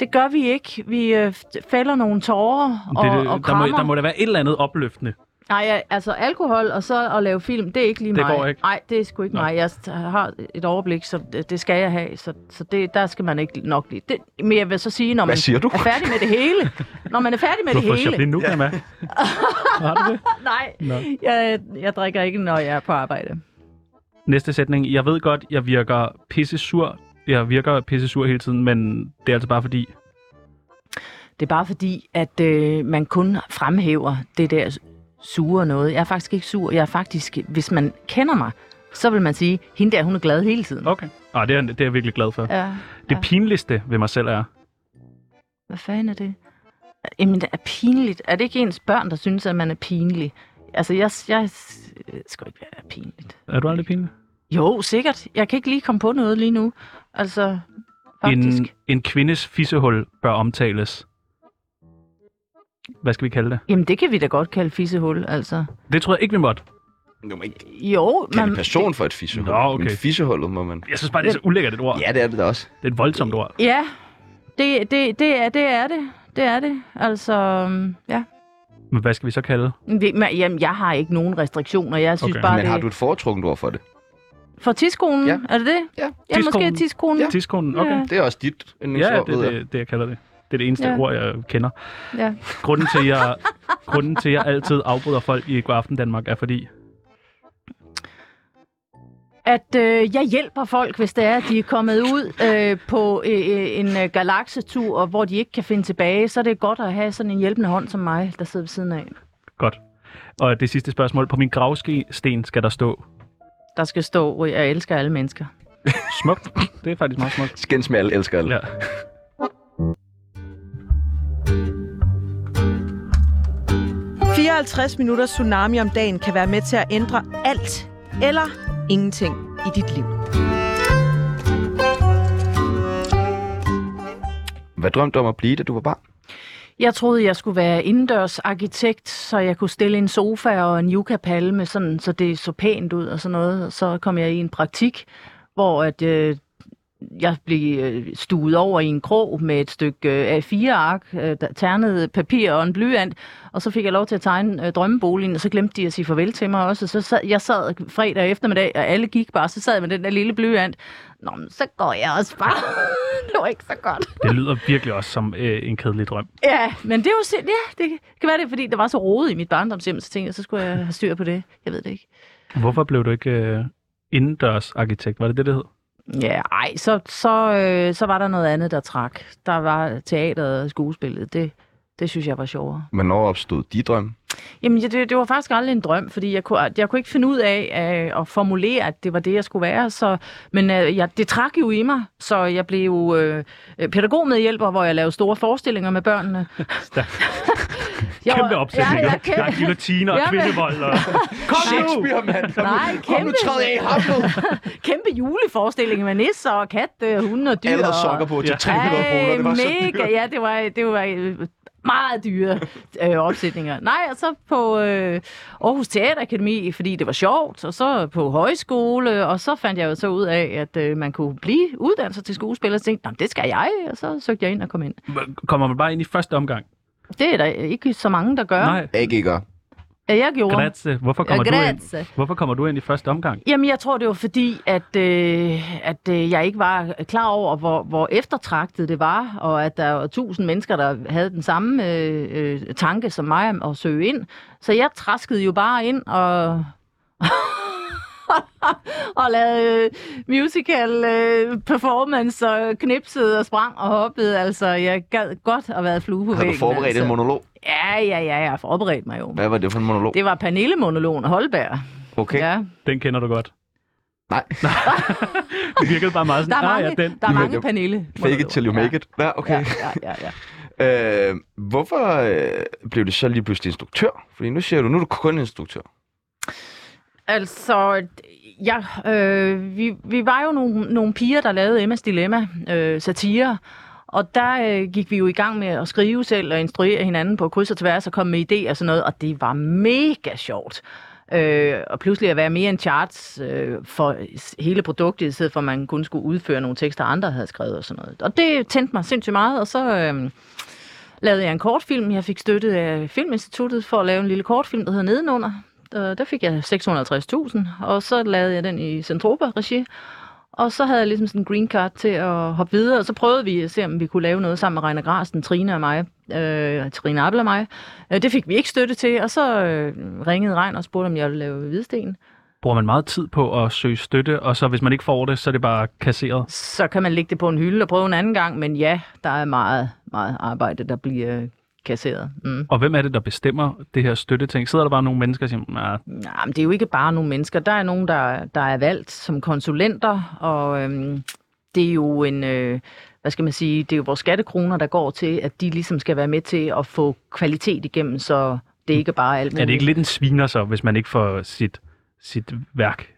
[SPEAKER 4] Det gør vi ikke. Vi øh, fælder nogle tårer og,
[SPEAKER 2] det,
[SPEAKER 4] og
[SPEAKER 2] der, må,
[SPEAKER 4] krammer.
[SPEAKER 2] der må da være et eller andet opløftende.
[SPEAKER 4] Nej, altså alkohol og så at lave film, det er ikke lige
[SPEAKER 2] Det
[SPEAKER 4] mig.
[SPEAKER 2] går ikke.
[SPEAKER 4] Nej, det er sgu ikke
[SPEAKER 2] Nå.
[SPEAKER 4] Nå. mig. Jeg har et overblik, så det, det skal jeg have, så, så det, der skal man ikke nok lige. Det, men jeg vil så sige, når
[SPEAKER 1] Hvad
[SPEAKER 4] man
[SPEAKER 1] siger du?
[SPEAKER 4] er færdig med det hele, når man er færdig med
[SPEAKER 2] Du har
[SPEAKER 4] det
[SPEAKER 2] fået
[SPEAKER 4] hele.
[SPEAKER 2] Chablis nu, kan man.
[SPEAKER 4] *laughs*
[SPEAKER 2] Har du det?
[SPEAKER 4] Nej,
[SPEAKER 2] Nå.
[SPEAKER 4] jeg, jeg drikker ikke, når jeg er på arbejde.
[SPEAKER 2] Næste sætning. Jeg ved godt, jeg virker pisse sur. Jeg virker pisse sur hele tiden, men det er altså bare fordi...
[SPEAKER 4] Det er bare fordi, at øh, man kun fremhæver det der sure noget. Jeg er faktisk ikke sur. Jeg er faktisk, hvis man kender mig, så vil man sige, hende der, hun er glad hele tiden.
[SPEAKER 2] Okay. Ah, det, er, det er jeg virkelig glad for. Ja.
[SPEAKER 4] Ja.
[SPEAKER 2] Det pinligste ved mig selv er...
[SPEAKER 4] Hvad fanden er det? Jamen, det er pinligt. Er det ikke ens børn, der synes, at man er pinlig? Altså, jeg, jeg skal ikke være der er pinligt.
[SPEAKER 2] Er du aldrig pinlig?
[SPEAKER 4] Jo, sikkert. Jeg kan ikke lige komme på noget lige nu. Altså, faktisk.
[SPEAKER 2] En,
[SPEAKER 4] En...
[SPEAKER 2] en kvindes fissehul bør omtales. Hvad skal vi kalde det?
[SPEAKER 4] Jamen, det kan vi da godt kalde fissehul, altså.
[SPEAKER 2] Det tror jeg ikke, vi måtte.
[SPEAKER 1] Du må ikke
[SPEAKER 4] Jo,
[SPEAKER 1] kalde en person for et fissehul.
[SPEAKER 2] Nå, okay.
[SPEAKER 1] Men fissehullet må man...
[SPEAKER 2] Jeg synes bare, det er så ulækkert et ord.
[SPEAKER 1] Ja, det er det da også.
[SPEAKER 2] Det er et voldsomt ord.
[SPEAKER 4] Ja, det, det, det, er, det er det. Det er det. Altså, øhm, ja.
[SPEAKER 2] Men hvad skal vi så kalde?
[SPEAKER 4] Vi- men- Jamen, jeg har ikke nogen restriktioner. Jeg synes
[SPEAKER 2] Okay.
[SPEAKER 4] okay. bare,
[SPEAKER 1] Men
[SPEAKER 4] det...
[SPEAKER 1] har du et foretrukket ord for det?
[SPEAKER 4] For tidskonen,
[SPEAKER 1] Ja.
[SPEAKER 4] er det det?
[SPEAKER 1] Ja.
[SPEAKER 4] ja måske
[SPEAKER 2] Tidskonen.
[SPEAKER 4] tidskonen.
[SPEAKER 2] Ja. Tidskonen? Okay.
[SPEAKER 1] Det er også dit
[SPEAKER 2] Ja,
[SPEAKER 1] yndlingsord,
[SPEAKER 2] det
[SPEAKER 1] ved
[SPEAKER 2] er
[SPEAKER 1] jeg.
[SPEAKER 2] det, det, jeg kalder det. Det er det eneste ja.
[SPEAKER 4] Ja.
[SPEAKER 2] ord, jeg kender.
[SPEAKER 4] Ja.
[SPEAKER 2] Grunden til,
[SPEAKER 4] *laughs*
[SPEAKER 2] jeg, grunden til, jeg altid afbryder folk i God Aften Danmark, er fordi...
[SPEAKER 4] at øh, jeg hjælper folk, hvis det er, at de er kommet ud øh, på øh, øh, en øh, galaksetur, og hvor de ikke kan finde tilbage, så er det godt at have sådan en hjælpende hånd som mig, der sidder ved siden af.
[SPEAKER 2] Godt. Og det sidste spørgsmål. På min gravsten skal der stå...
[SPEAKER 4] Der skal stå, at jeg elsker alle mennesker.
[SPEAKER 2] Smukt. Det er faktisk meget smukt.
[SPEAKER 1] Skændes med alle elsker alle.
[SPEAKER 2] Ja.
[SPEAKER 5] det. 54 minutter tsunami om dagen kan være med til at ændre alt eller ingenting i dit liv.
[SPEAKER 1] Hvad drømte du om at blive, da du var barn?
[SPEAKER 4] Jeg troede, jeg skulle være indendørsarkitekt, så jeg kunne stille en sofa og en yucca-palme, sådan, så det så pænt ud og sådan noget. Og Så kom jeg i en praktik, hvor at, øh, jeg blev øh, stuet over i en krog med et stykke øh, A4-ark, øh, der- ternet papir og en blyant, og så fik jeg lov til at tegne øh, drømmeboligen, og så glemte de at sige farvel til mig også. Og så sad, jeg sad fredag eftermiddag, og alle gik bare, så sad jeg med den der lille blyant. Nå, men så går jeg også bare. *laughs* det var ikke så godt.
[SPEAKER 2] Det lyder virkelig også som øh, en kedelig drøm.
[SPEAKER 4] Ja, men det er jo sind... ja, det kan være det, er, fordi der var så rodet i mit barndomshjem, så tænkte jeg, så skulle jeg have styr på det. Jeg ved det ikke.
[SPEAKER 2] Hvorfor blev du ikke øh, indendørsarkitekt? Var det det, det hed?
[SPEAKER 4] Ja, ej, så, så, øh, så var der noget andet, der trak. Der var teateret og skuespillet. Det, det synes jeg var sjovere.
[SPEAKER 1] Hvornår opstod de drømme?
[SPEAKER 4] Jamen, ja, det, det var faktisk aldrig en drøm, fordi jeg kunne, jeg kunne ikke finde ud af øh, at formulere, at det var det, jeg skulle være. Så, men øh, jeg, det trak jo i mig, så jeg blev jo øh, pædagogmedhjælper, hvor jeg lavede store forestillinger med børnene. *laughs* Jeg var-
[SPEAKER 2] Kæmpe opsætning.
[SPEAKER 4] Ja, ja,
[SPEAKER 2] Der er
[SPEAKER 4] kæmpe,
[SPEAKER 2] guillotiner og
[SPEAKER 4] Ja, men-
[SPEAKER 2] kvindevold.
[SPEAKER 4] *laughs*
[SPEAKER 2] Og... Kom nu!
[SPEAKER 1] mand!
[SPEAKER 4] Nej,
[SPEAKER 1] Kom nu,
[SPEAKER 4] kæmpe.
[SPEAKER 1] træd af i hamlet!
[SPEAKER 4] kæmpe juleforestilling med nisser og katte, hunde og dyr.
[SPEAKER 1] Alle havde sokker på til
[SPEAKER 2] Ja.
[SPEAKER 1] 300 kroner. Det var så dyrt.
[SPEAKER 4] mega, ja, det var, det var øh, meget dyre øh, opsætninger. Nej, og så på øh, Aarhus Teaterakademi, fordi det var sjovt, og så på højskole, og så fandt jeg jo så ud af, at øh, man kunne blive uddannet til skuespiller, og så tænkte, "Nå, men det skal jeg, og så søgte jeg ind og kom ind.
[SPEAKER 2] Kommer man bare ind i første omgang?
[SPEAKER 4] Det er der ikke så mange, der gør.
[SPEAKER 2] Nej.
[SPEAKER 1] AG gør.
[SPEAKER 4] Ja, jeg gjorde.
[SPEAKER 2] Grazie. Hvorfor kommer,
[SPEAKER 4] Ja,
[SPEAKER 2] du ind,
[SPEAKER 4] grazie.
[SPEAKER 2] hvorfor kommer du ind i første omgang?
[SPEAKER 4] Jamen, jeg tror, det var fordi, at, øh, at øh, jeg ikke var klar over, hvor, hvor eftertragtet det var, og at der var tusind mennesker, der havde den samme øh, øh, tanke som mig om at søge ind. Så jeg traskede jo bare ind og... *laughs* og lavede øh, musical øh, performance og knipsede og sprang og hoppede. Altså, jeg gad godt at være flue på
[SPEAKER 1] Har
[SPEAKER 4] væggen.
[SPEAKER 1] du forberedt
[SPEAKER 4] altså.
[SPEAKER 1] en monolog?
[SPEAKER 4] Ja, ja, ja, jeg har forberedt mig jo.
[SPEAKER 1] Hvad var det for en monolog?
[SPEAKER 4] Det var Pernille-monologen af Holberg.
[SPEAKER 1] Okay.
[SPEAKER 4] Ja.
[SPEAKER 2] Den kender du godt.
[SPEAKER 1] Nej.
[SPEAKER 2] *laughs* Det virkede bare meget
[SPEAKER 4] Der
[SPEAKER 2] sådan,
[SPEAKER 4] er
[SPEAKER 2] ah,
[SPEAKER 4] mange,
[SPEAKER 2] ja,
[SPEAKER 4] ja,
[SPEAKER 2] den.
[SPEAKER 4] der er mange
[SPEAKER 1] det-
[SPEAKER 4] Pernille.
[SPEAKER 1] Fake it till you make it. Ja,
[SPEAKER 4] Ja,
[SPEAKER 1] okay.
[SPEAKER 4] ja, ja, ja.
[SPEAKER 1] Ja. Øh, hvorfor øh, blev det så lige pludselig instruktør? Fordi nu siger du, nu er du kun instruktør.
[SPEAKER 4] *laughs* Altså, ja, øh, vi, vi var jo nogle, nogle piger, der lavede Emmas Dilemma, øh, satire, og der øh, gik vi jo i gang med at skrive selv og instruere hinanden på kryds og tværs og komme med idéer og sådan noget, og det var mega sjovt. Øh, og pludselig at være mere en charts øh, for s- hele produktet, i stedet for at man kun skulle udføre nogle tekster, andre havde skrevet og sådan noget. Og det tændte mig sindssygt meget, og så... Øh, lavede jeg en kortfilm. Jeg fik støttet af Filminstituttet for at lave en lille kortfilm, der hedder Nedenunder. Og der fik jeg 650.000, og så lavede jeg den i Centropa-regi. Og så havde jeg ligesom sådan en green card til at hoppe videre, og så prøvede vi at se, om vi kunne lave noget sammen med Reiner Grasten, Trine og mig, øh, Trine Appel og mig. Øh, det fik vi ikke støtte til, og så øh, ringede Reiner og spurgte, om jeg ville lave Hvidsten.
[SPEAKER 2] Bruger man meget tid på at søge støtte, og så hvis man ikke får det, så er det bare kasseret.
[SPEAKER 4] Så kan man lægge det på en hylde og prøve en anden gang, men ja, der er meget, meget arbejde, der bliver kasseret. Mm.
[SPEAKER 2] Og hvem er det, der bestemmer det her støtteting? Sidder der bare nogle mennesker og siger, nej,
[SPEAKER 4] Nej, men det er jo ikke bare nogle mennesker. Der er nogen, der, der er valgt som konsulenter, og øhm, det er jo en, øh, hvad skal man sige, det er jo vores skattekroner, der går til, at de ligesom skal være med til at få kvalitet igennem, så det ikke bare er alt muligt.
[SPEAKER 2] er det ikke lidt en sviner så, hvis man ikke får sit, sit værk?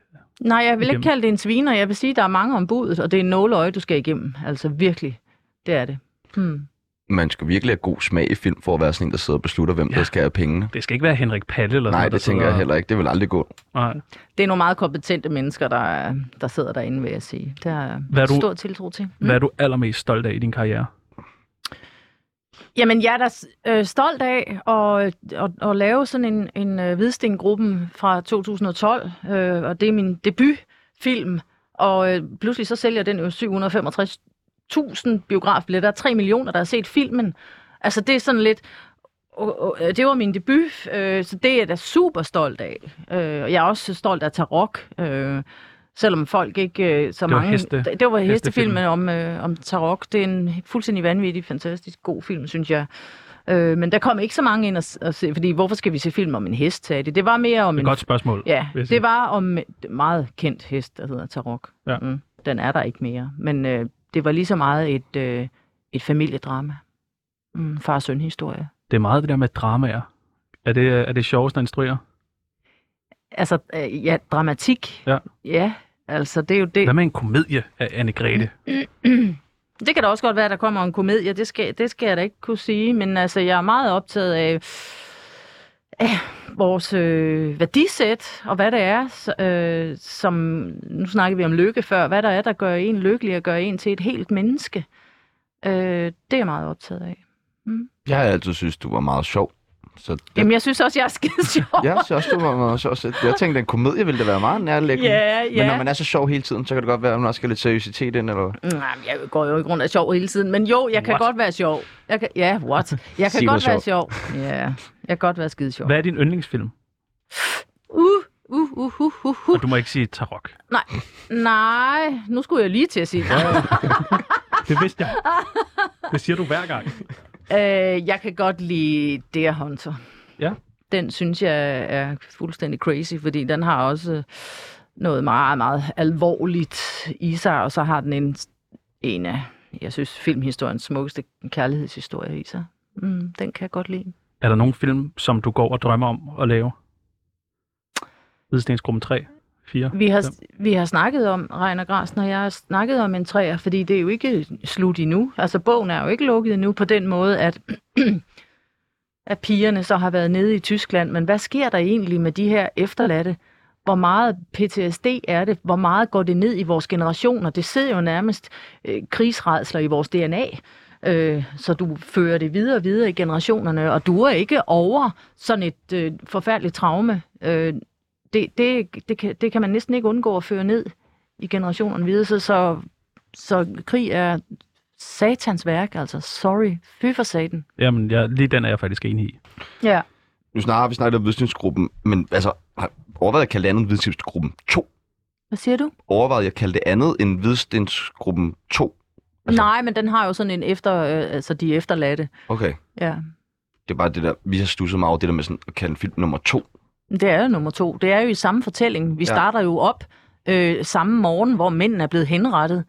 [SPEAKER 4] Nej, jeg vil ikke
[SPEAKER 2] igennem?
[SPEAKER 4] kalde det en sviner. Jeg vil sige, der er mange om budet, og det er en nåleøje, du skal igennem. Altså virkelig, det er det. Hmm.
[SPEAKER 1] Man skal virkelig have god smag i film for at være sådan en, der sidder og beslutter, hvem ja. der skal have pengene.
[SPEAKER 2] Det skal ikke være Henrik Palle eller sådan
[SPEAKER 1] Nej,
[SPEAKER 2] noget,
[SPEAKER 1] det tænker jeg heller ikke. Det vil aldrig gå.
[SPEAKER 2] Nej.
[SPEAKER 4] Det er nogle meget kompetente mennesker, der, er- der sidder derinde, vil jeg sige. Det er
[SPEAKER 2] Hvad er du-
[SPEAKER 4] stor tiltro til. Mm.
[SPEAKER 2] Hvad er du allermest stolt af i din karriere?
[SPEAKER 4] Jamen, jeg er da øh, stolt af at, at, at lave sådan en, en øh, Hvidsten-gruppen fra 2012, øh, og det er min debutfilm, og øh, pludselig så sælger den jo 765.000 biografbilletter, 3 millioner, der har set filmen. Altså, det er sådan lidt... Og, og, øh, det var min debut, øh, så det er jeg da super stolt af. Øh, og jeg er også stolt af Tarok, øh, selvom folk ikke... Øh, så
[SPEAKER 2] Det var
[SPEAKER 4] mange,
[SPEAKER 2] heste-
[SPEAKER 4] det, det var
[SPEAKER 2] hestefilmen.
[SPEAKER 4] hestefilmen om, øh, om Tarok. Det er en fuldstændig vanvittig, fantastisk god film, synes jeg. Øh, men der kom ikke så mange ind og, s- og se, fordi hvorfor skal vi se film om en hest, sagde det. Det var mere om
[SPEAKER 2] Det er
[SPEAKER 4] en...
[SPEAKER 2] et godt spørgsmål.
[SPEAKER 4] Ja,
[SPEAKER 2] vil jeg sige.
[SPEAKER 4] det var om et meget kendt hest, der hedder Tarok.
[SPEAKER 2] Ja.
[SPEAKER 4] Mm, den er der ikke mere. Men øh, det var lige så meget et, øh, et familiedrama. Mm, far søn historie.
[SPEAKER 2] det er meget det der med dramaer. Er det, er det sjovest at instruere?
[SPEAKER 4] Altså, øh, ja, dramatik.
[SPEAKER 2] Ja.
[SPEAKER 4] Ja, altså det er jo det.
[SPEAKER 2] Hvad med en komedie af Anne Grete?
[SPEAKER 4] *clears throat* Det kan da også godt være, at der kommer en komedie. Det skal, det skal jeg da ikke kunne sige. Men altså, jeg er meget optaget af, af vores øh, værdisæt, og hvad det er, s- øh, som... Nu snakkede vi om lykke før. Hvad der er, der gør en lykkelig og gør en til et helt menneske. Øh, det er jeg meget optaget af.
[SPEAKER 1] Jeg har altid synes du var meget sjov. Så
[SPEAKER 4] Jamen, jeg synes også, jeg er skide
[SPEAKER 1] *laughs*
[SPEAKER 4] sjov.
[SPEAKER 1] jeg synes også, du var meget sjov. Så jeg tænkte, en komedie ville det være meget nærliggende.
[SPEAKER 4] Ja, ja.
[SPEAKER 1] Men når man er så sjov hele tiden, så kan det godt være, at man også skal have lidt seriøsitet ind. Eller... hvad?
[SPEAKER 4] Nej, men Mm, jeg går jo ikke rundt og er sjov hele tiden, men jo, jeg kan
[SPEAKER 2] What?
[SPEAKER 4] godt være sjov. Jeg kan, ja, what? Jeg kan
[SPEAKER 1] Sig, hvor
[SPEAKER 4] godt være sjov. Ja, jeg kan godt være skide sjov.
[SPEAKER 2] Hvad er din yndlingsfilm?
[SPEAKER 4] Uh, uh, uh, uh, uh, uh.
[SPEAKER 2] Og du må ikke sige Tarok.
[SPEAKER 4] Nej, nej, nu skulle jeg lige til at sige det.
[SPEAKER 2] Det vidste jeg. Det siger du hver gang.
[SPEAKER 4] øh, jeg kan godt lide Deer Hunter.
[SPEAKER 2] Ja.
[SPEAKER 4] Den synes jeg er fuldstændig crazy, fordi den har også noget meget, meget alvorligt i sig, og så har den en, en af, jeg synes, filmhistoriens smukkeste kærlighedshistorie i sig. Mm, den kan jeg godt lide.
[SPEAKER 2] Er der nogen film, som du går og drømmer om at lave? Hvidstensgruppen 3, 4?
[SPEAKER 4] Vi har, vi har snakket om, Reiner Grasen og jeg har snakket om en træer, fordi det er jo ikke slut endnu. Altså bogen er jo ikke lukket endnu på den måde, at, *clears throat* at pigerne så har været nede i Tyskland. Men hvad sker der egentlig med de her efterladte? Hvor meget PTSD er det? Hvor meget går det ned i vores generationer? Det sidder jo nærmest øh, krigsredsler i vores DNA. Øh, så du fører det videre og videre i generationerne, og du er ikke over sådan et øh, forfærdeligt traume. Øh, det, det, det, kan, det kan man næsten ikke undgå at føre ned i generationerne videre, så, så, så krig er satans værk, altså. Sorry. Fy for satan.
[SPEAKER 2] Jamen, jeg, lige den er jeg faktisk enig i.
[SPEAKER 4] Ja.
[SPEAKER 1] Nu snart har vi snakket om videnskabsgruppen, men altså, har overvejet at kalde det andet videnskabsgruppen 2?
[SPEAKER 4] Hvad siger du?
[SPEAKER 1] Overvejet at kalde det andet end videnskabsgruppen 2? Altså-
[SPEAKER 4] Altså... Nej, men den har jo sådan en efter... Øh, altså, de efterladte.
[SPEAKER 1] Okay,
[SPEAKER 4] Ja.
[SPEAKER 1] det er bare det der, vi har stusset meget over det der med sådan at kalde en film nummer 2.
[SPEAKER 4] Det er jo nummer to. Det er jo i samme fortælling. Vi
[SPEAKER 1] Ja.
[SPEAKER 4] ja. starter jo op øh, samme morgen, hvor mændene er blevet henrettet.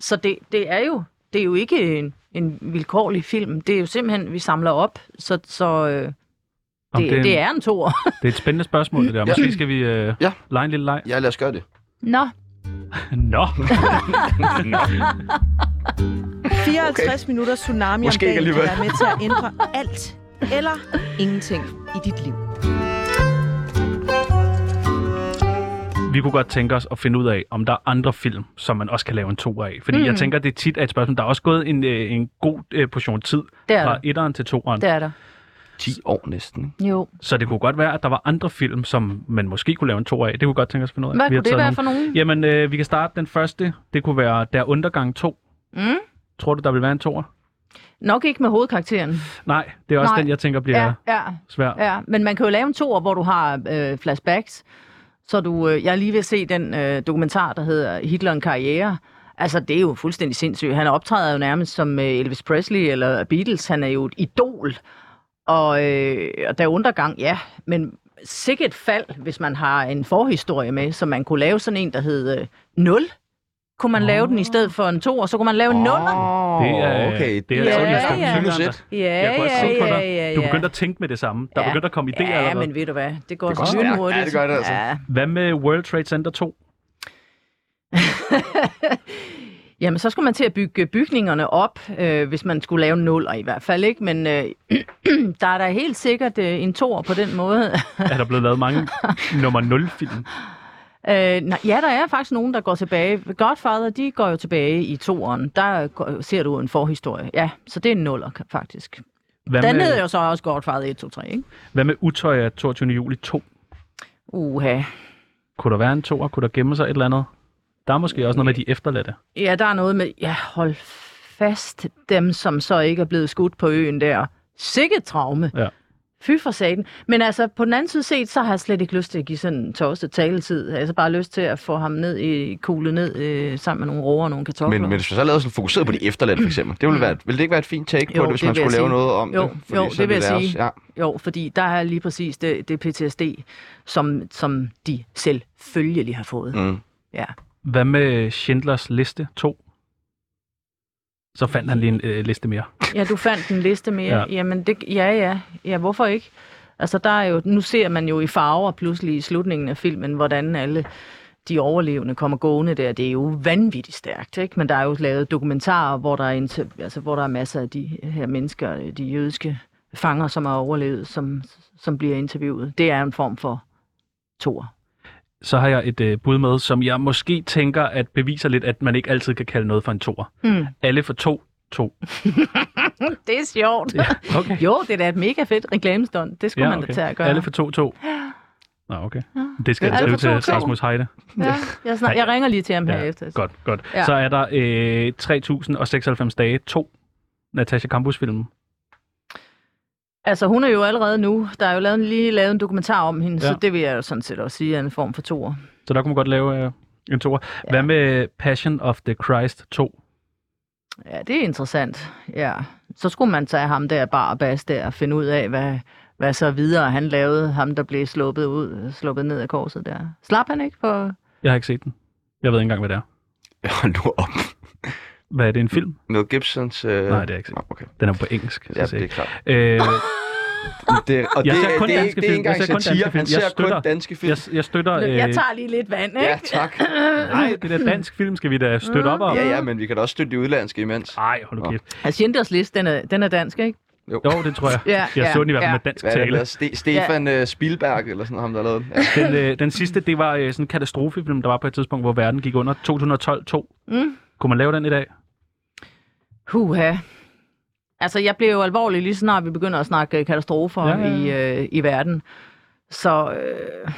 [SPEAKER 4] Så det, det er jo det er jo ikke en, en vilkårlig film. Det er jo simpelthen, vi samler op. Så, så øh, det,
[SPEAKER 2] Om det,
[SPEAKER 4] det, det er en toer.
[SPEAKER 2] det er et spændende spørgsmål, det der.
[SPEAKER 1] Ja.
[SPEAKER 2] Måske skal vi øh,
[SPEAKER 1] Ja.
[SPEAKER 2] ja. lege en lille leg.
[SPEAKER 1] Ja, lad os gøre det.
[SPEAKER 4] Nå,
[SPEAKER 2] Nå,
[SPEAKER 5] 54 okay. minutter tsunami
[SPEAKER 1] Måske
[SPEAKER 5] om
[SPEAKER 1] ikke
[SPEAKER 5] dagen
[SPEAKER 1] alligevel.
[SPEAKER 5] kan være med til at ændre alt eller ingenting i dit liv.
[SPEAKER 2] vi kunne godt tænke os at finde ud af, om der er andre film, som man også kan lave en to af. Fordi mm. jeg tænker, det tit er et spørgsmål. Der er også gået en, øh, en god øh, portion tid
[SPEAKER 4] det er
[SPEAKER 2] fra
[SPEAKER 4] der.
[SPEAKER 2] etteren til toeren.
[SPEAKER 4] Det er der.
[SPEAKER 1] 10 år næsten, ikke?
[SPEAKER 4] Jo.
[SPEAKER 2] Så det kunne godt være, at der var andre film, som man måske kunne lave en to af. Det kunne vi godt tænke os at finde ud af.
[SPEAKER 4] Hvad
[SPEAKER 2] Vi har
[SPEAKER 4] kunne det
[SPEAKER 2] taget
[SPEAKER 4] være for nogen?
[SPEAKER 2] Jamen, øh, vi kan starte den første. Det kunne være Der Undergang 2.
[SPEAKER 4] Mm?
[SPEAKER 2] Tror du, der vil være en toer?
[SPEAKER 4] Nok ikke med hovedkarakteren.
[SPEAKER 2] Nej, det er også
[SPEAKER 4] Nej.
[SPEAKER 2] den, jeg tænker bliver ja.
[SPEAKER 4] ja.
[SPEAKER 2] svær.
[SPEAKER 4] Ja, men man kan jo lave en toer, hvor du har øh, flashbacks. Så du, øh, jeg er lige ved at se den øh, dokumentar, der hedder Hitler en karriere. Altså, det er jo fuldstændig sindssygt. Han optræder jo nærmest som øh, Elvis Presley eller Beatles. Han er jo et idol. Og, øh, og der er undergang, ja. Men sikkert et fald, hvis man har en forhistorie med, så man kunne lave sådan en, der hed øh, 0. Kunne man oh. lave den i stedet for en to, og så kunne man lave en oh. nummer.
[SPEAKER 1] Det er,
[SPEAKER 2] øh,
[SPEAKER 1] okay, det er
[SPEAKER 4] Ja,
[SPEAKER 1] sådan, jeg
[SPEAKER 4] ja.
[SPEAKER 1] skal minus et.
[SPEAKER 4] Ja,
[SPEAKER 2] Jeg kunne også tænke på dig. Du
[SPEAKER 4] ja.
[SPEAKER 2] begyndte at tænke med det samme. Der
[SPEAKER 4] Ja.
[SPEAKER 2] begyndte at komme idéer
[SPEAKER 4] Ja,
[SPEAKER 2] allerede.
[SPEAKER 4] men ved du hvad, det går,
[SPEAKER 1] Det
[SPEAKER 4] det
[SPEAKER 1] går
[SPEAKER 4] går
[SPEAKER 1] stærkt.
[SPEAKER 4] så hurtigt.
[SPEAKER 1] Ja, det gør det altså.
[SPEAKER 4] Ja.
[SPEAKER 2] Hvad med World Trade Center 2?
[SPEAKER 4] Jamen, så skulle man til at bygge bygningerne op, øh, hvis man skulle lave nuller i hvert fald, ikke? Men øh, *clears throat* der er da helt sikkert øh, en toer på den måde. *laughs*
[SPEAKER 2] Er der blevet lavet mange nummer 0-film?
[SPEAKER 4] Øh, nej, ja, der er faktisk nogen, der går tilbage. Godfather, de går jo tilbage i toeren. Der går- ser du en forhistorie. Ja, så det er en nuller, ka- faktisk.
[SPEAKER 2] Hvad
[SPEAKER 1] øh,
[SPEAKER 4] Den hedder
[SPEAKER 2] med,
[SPEAKER 4] jo så også Godfather 1, 2, 3, ikke?
[SPEAKER 2] hvad med Utøya 22. juli 2?
[SPEAKER 4] Uha.
[SPEAKER 2] Kunne der være en toer? Kunne der gemme sig et eller andet? Der er måske også noget med de efterladte.
[SPEAKER 4] Ja, der er noget med... Ja, hold fast dem, som så ikke er blevet skudt på øen der. Sikke traume.
[SPEAKER 2] Ja.
[SPEAKER 4] Fy for satan. Men altså, på den anden side set, så har jeg slet ikke lyst til at give sådan en tosset taletid. Altså bare lyst til at få ham ned i, kuglet ned øh, sammen med nogle roer og nogle kartofler.
[SPEAKER 1] Men, men hvis vi så lavede sådan fokuseret på de efterladte, for eksempel,
[SPEAKER 2] Mm.
[SPEAKER 1] det ville, være, et- ville det ikke være et fint take på
[SPEAKER 4] Jo,
[SPEAKER 1] det, hvis
[SPEAKER 4] det
[SPEAKER 1] man
[SPEAKER 4] vil jeg
[SPEAKER 1] skulle lave
[SPEAKER 4] sige.
[SPEAKER 1] noget om
[SPEAKER 4] Jo,
[SPEAKER 1] det? Fordi
[SPEAKER 4] jo,
[SPEAKER 1] så
[SPEAKER 4] det vil
[SPEAKER 1] ville
[SPEAKER 4] jeg
[SPEAKER 1] også-
[SPEAKER 4] sige.
[SPEAKER 1] Ja.
[SPEAKER 4] Jo, fordi der er lige præcis det, det PTSD, som, som de selvfølgelig har fået. Mm.
[SPEAKER 1] Mm.
[SPEAKER 4] Ja.
[SPEAKER 2] Hvad med Schindlers Liste 2? Så fandt han lige en øh, liste mere.
[SPEAKER 4] Ja, du fandt en liste mere.
[SPEAKER 2] Ja.
[SPEAKER 4] Ja. Jamen, det, ja, ja. Ja, hvorfor ikke? Altså, der er jo, nu ser man jo i farver pludselig i slutningen af filmen, hvordan alle de overlevende kommer gående der. Det er jo vanvittigt stærkt, ikke? Men der er jo lavet dokumentarer, hvor der er, inter- altså, hvor der er masser af de her mennesker, øh, de jødiske fanger, som har overlevet, som, som bliver interviewet. Det er en form for tor.
[SPEAKER 2] så har jeg et øh, bud med, som jeg måske tænker, at beviser lidt, at man ikke altid kan kalde noget for en toer.
[SPEAKER 4] Mm.
[SPEAKER 2] Alle for to, to.
[SPEAKER 4] Det er sjovt.
[SPEAKER 2] Ja, okay.
[SPEAKER 4] Jo, *laughs* det er da et mega fedt reklamestånd. Det skulle
[SPEAKER 2] ja,
[SPEAKER 4] ja, man da
[SPEAKER 2] okay.
[SPEAKER 4] tage at gøre.
[SPEAKER 2] Alle for to, to. Nå, okay. Det skal jeg
[SPEAKER 4] Alle
[SPEAKER 2] skrive
[SPEAKER 4] for to,
[SPEAKER 2] til
[SPEAKER 4] to.
[SPEAKER 2] Rasmus Heide.
[SPEAKER 4] ja, jeg, snak- jeg ringer lige til ham her
[SPEAKER 2] Ja,
[SPEAKER 4] efter.
[SPEAKER 2] Godt, godt.
[SPEAKER 4] Ja.
[SPEAKER 2] Så er der øh, 3096 dage, to. Natasha Campus-filmen.
[SPEAKER 4] Altså, hun er jo allerede nu. Der er jo lavet, lige lavet en dokumentar om hende, ja.
[SPEAKER 2] Ja.
[SPEAKER 4] så det vil jeg jo sådan set også sige er en form for toer.
[SPEAKER 2] Så der kunne man godt lave øh, en toer. Hvad med Passion of the Christ 2?
[SPEAKER 4] Ja, det er interessant. Ja. Så skulle man tage ham der bare bas der og finde ud af, hvad, hvad så videre han lavede. Ham, der blev sluppet ud, sluppet ned af korset der. Slap han ikke for...
[SPEAKER 2] Jeg har ikke set den. Jeg ved ikke engang, hvad det er.
[SPEAKER 1] *laughs* Hold nu op.
[SPEAKER 2] Hvad er det, en film?
[SPEAKER 1] Mel Gibsons... Øh...
[SPEAKER 2] Nej, det er ikke
[SPEAKER 1] Nå, okay.
[SPEAKER 2] Den er på engelsk.
[SPEAKER 1] Ja,
[SPEAKER 2] så
[SPEAKER 1] det er klart.
[SPEAKER 2] det... Øh,
[SPEAKER 1] Det, og
[SPEAKER 2] Jeg
[SPEAKER 1] det,
[SPEAKER 2] ser kun
[SPEAKER 1] det, er
[SPEAKER 2] danske
[SPEAKER 1] ikke- det er
[SPEAKER 2] film.
[SPEAKER 1] ikke engang
[SPEAKER 2] Jeg ser kun danske
[SPEAKER 1] satire. Han
[SPEAKER 2] film. Jeg
[SPEAKER 1] ser kun
[SPEAKER 2] støtter.
[SPEAKER 1] danske film.
[SPEAKER 2] jeg, jeg støtter... Øh,
[SPEAKER 4] Jeg tager lige lidt vand, ikke?
[SPEAKER 1] Ja, tak.
[SPEAKER 2] Nej, det der dansk film skal vi da støtte op om.
[SPEAKER 1] Ja, ja, men vi kan da også støtte de udlandske imens.
[SPEAKER 2] Ej, hold nu
[SPEAKER 1] Nå.
[SPEAKER 2] kæft.
[SPEAKER 4] Altså, Schindlers List, den er, den er dansk, ikke?
[SPEAKER 2] Jo, det tror jeg.
[SPEAKER 4] Ja,
[SPEAKER 2] jeg
[SPEAKER 4] ja,
[SPEAKER 2] så den i hvert fald
[SPEAKER 4] ja.
[SPEAKER 2] med dansk
[SPEAKER 1] Hvad er det,
[SPEAKER 2] tale.
[SPEAKER 1] der? Ste- Stefan ja. Spielberg, eller sådan ham, der lavede den. Ja.
[SPEAKER 2] Den, øh, den sidste, det var øh, sådan en katastrofefilm, der var på et tidspunkt, hvor verden gik under. 2012-2.
[SPEAKER 4] Mm.
[SPEAKER 2] Kunne man lave den i dag?
[SPEAKER 4] Huha. Altså, jeg bliver jo alvorlig lige så snart vi begynder at snakke øh, katastrofer
[SPEAKER 2] Ja,
[SPEAKER 4] ja,
[SPEAKER 2] ja,
[SPEAKER 4] ja. I, øh, i verden. Så øh,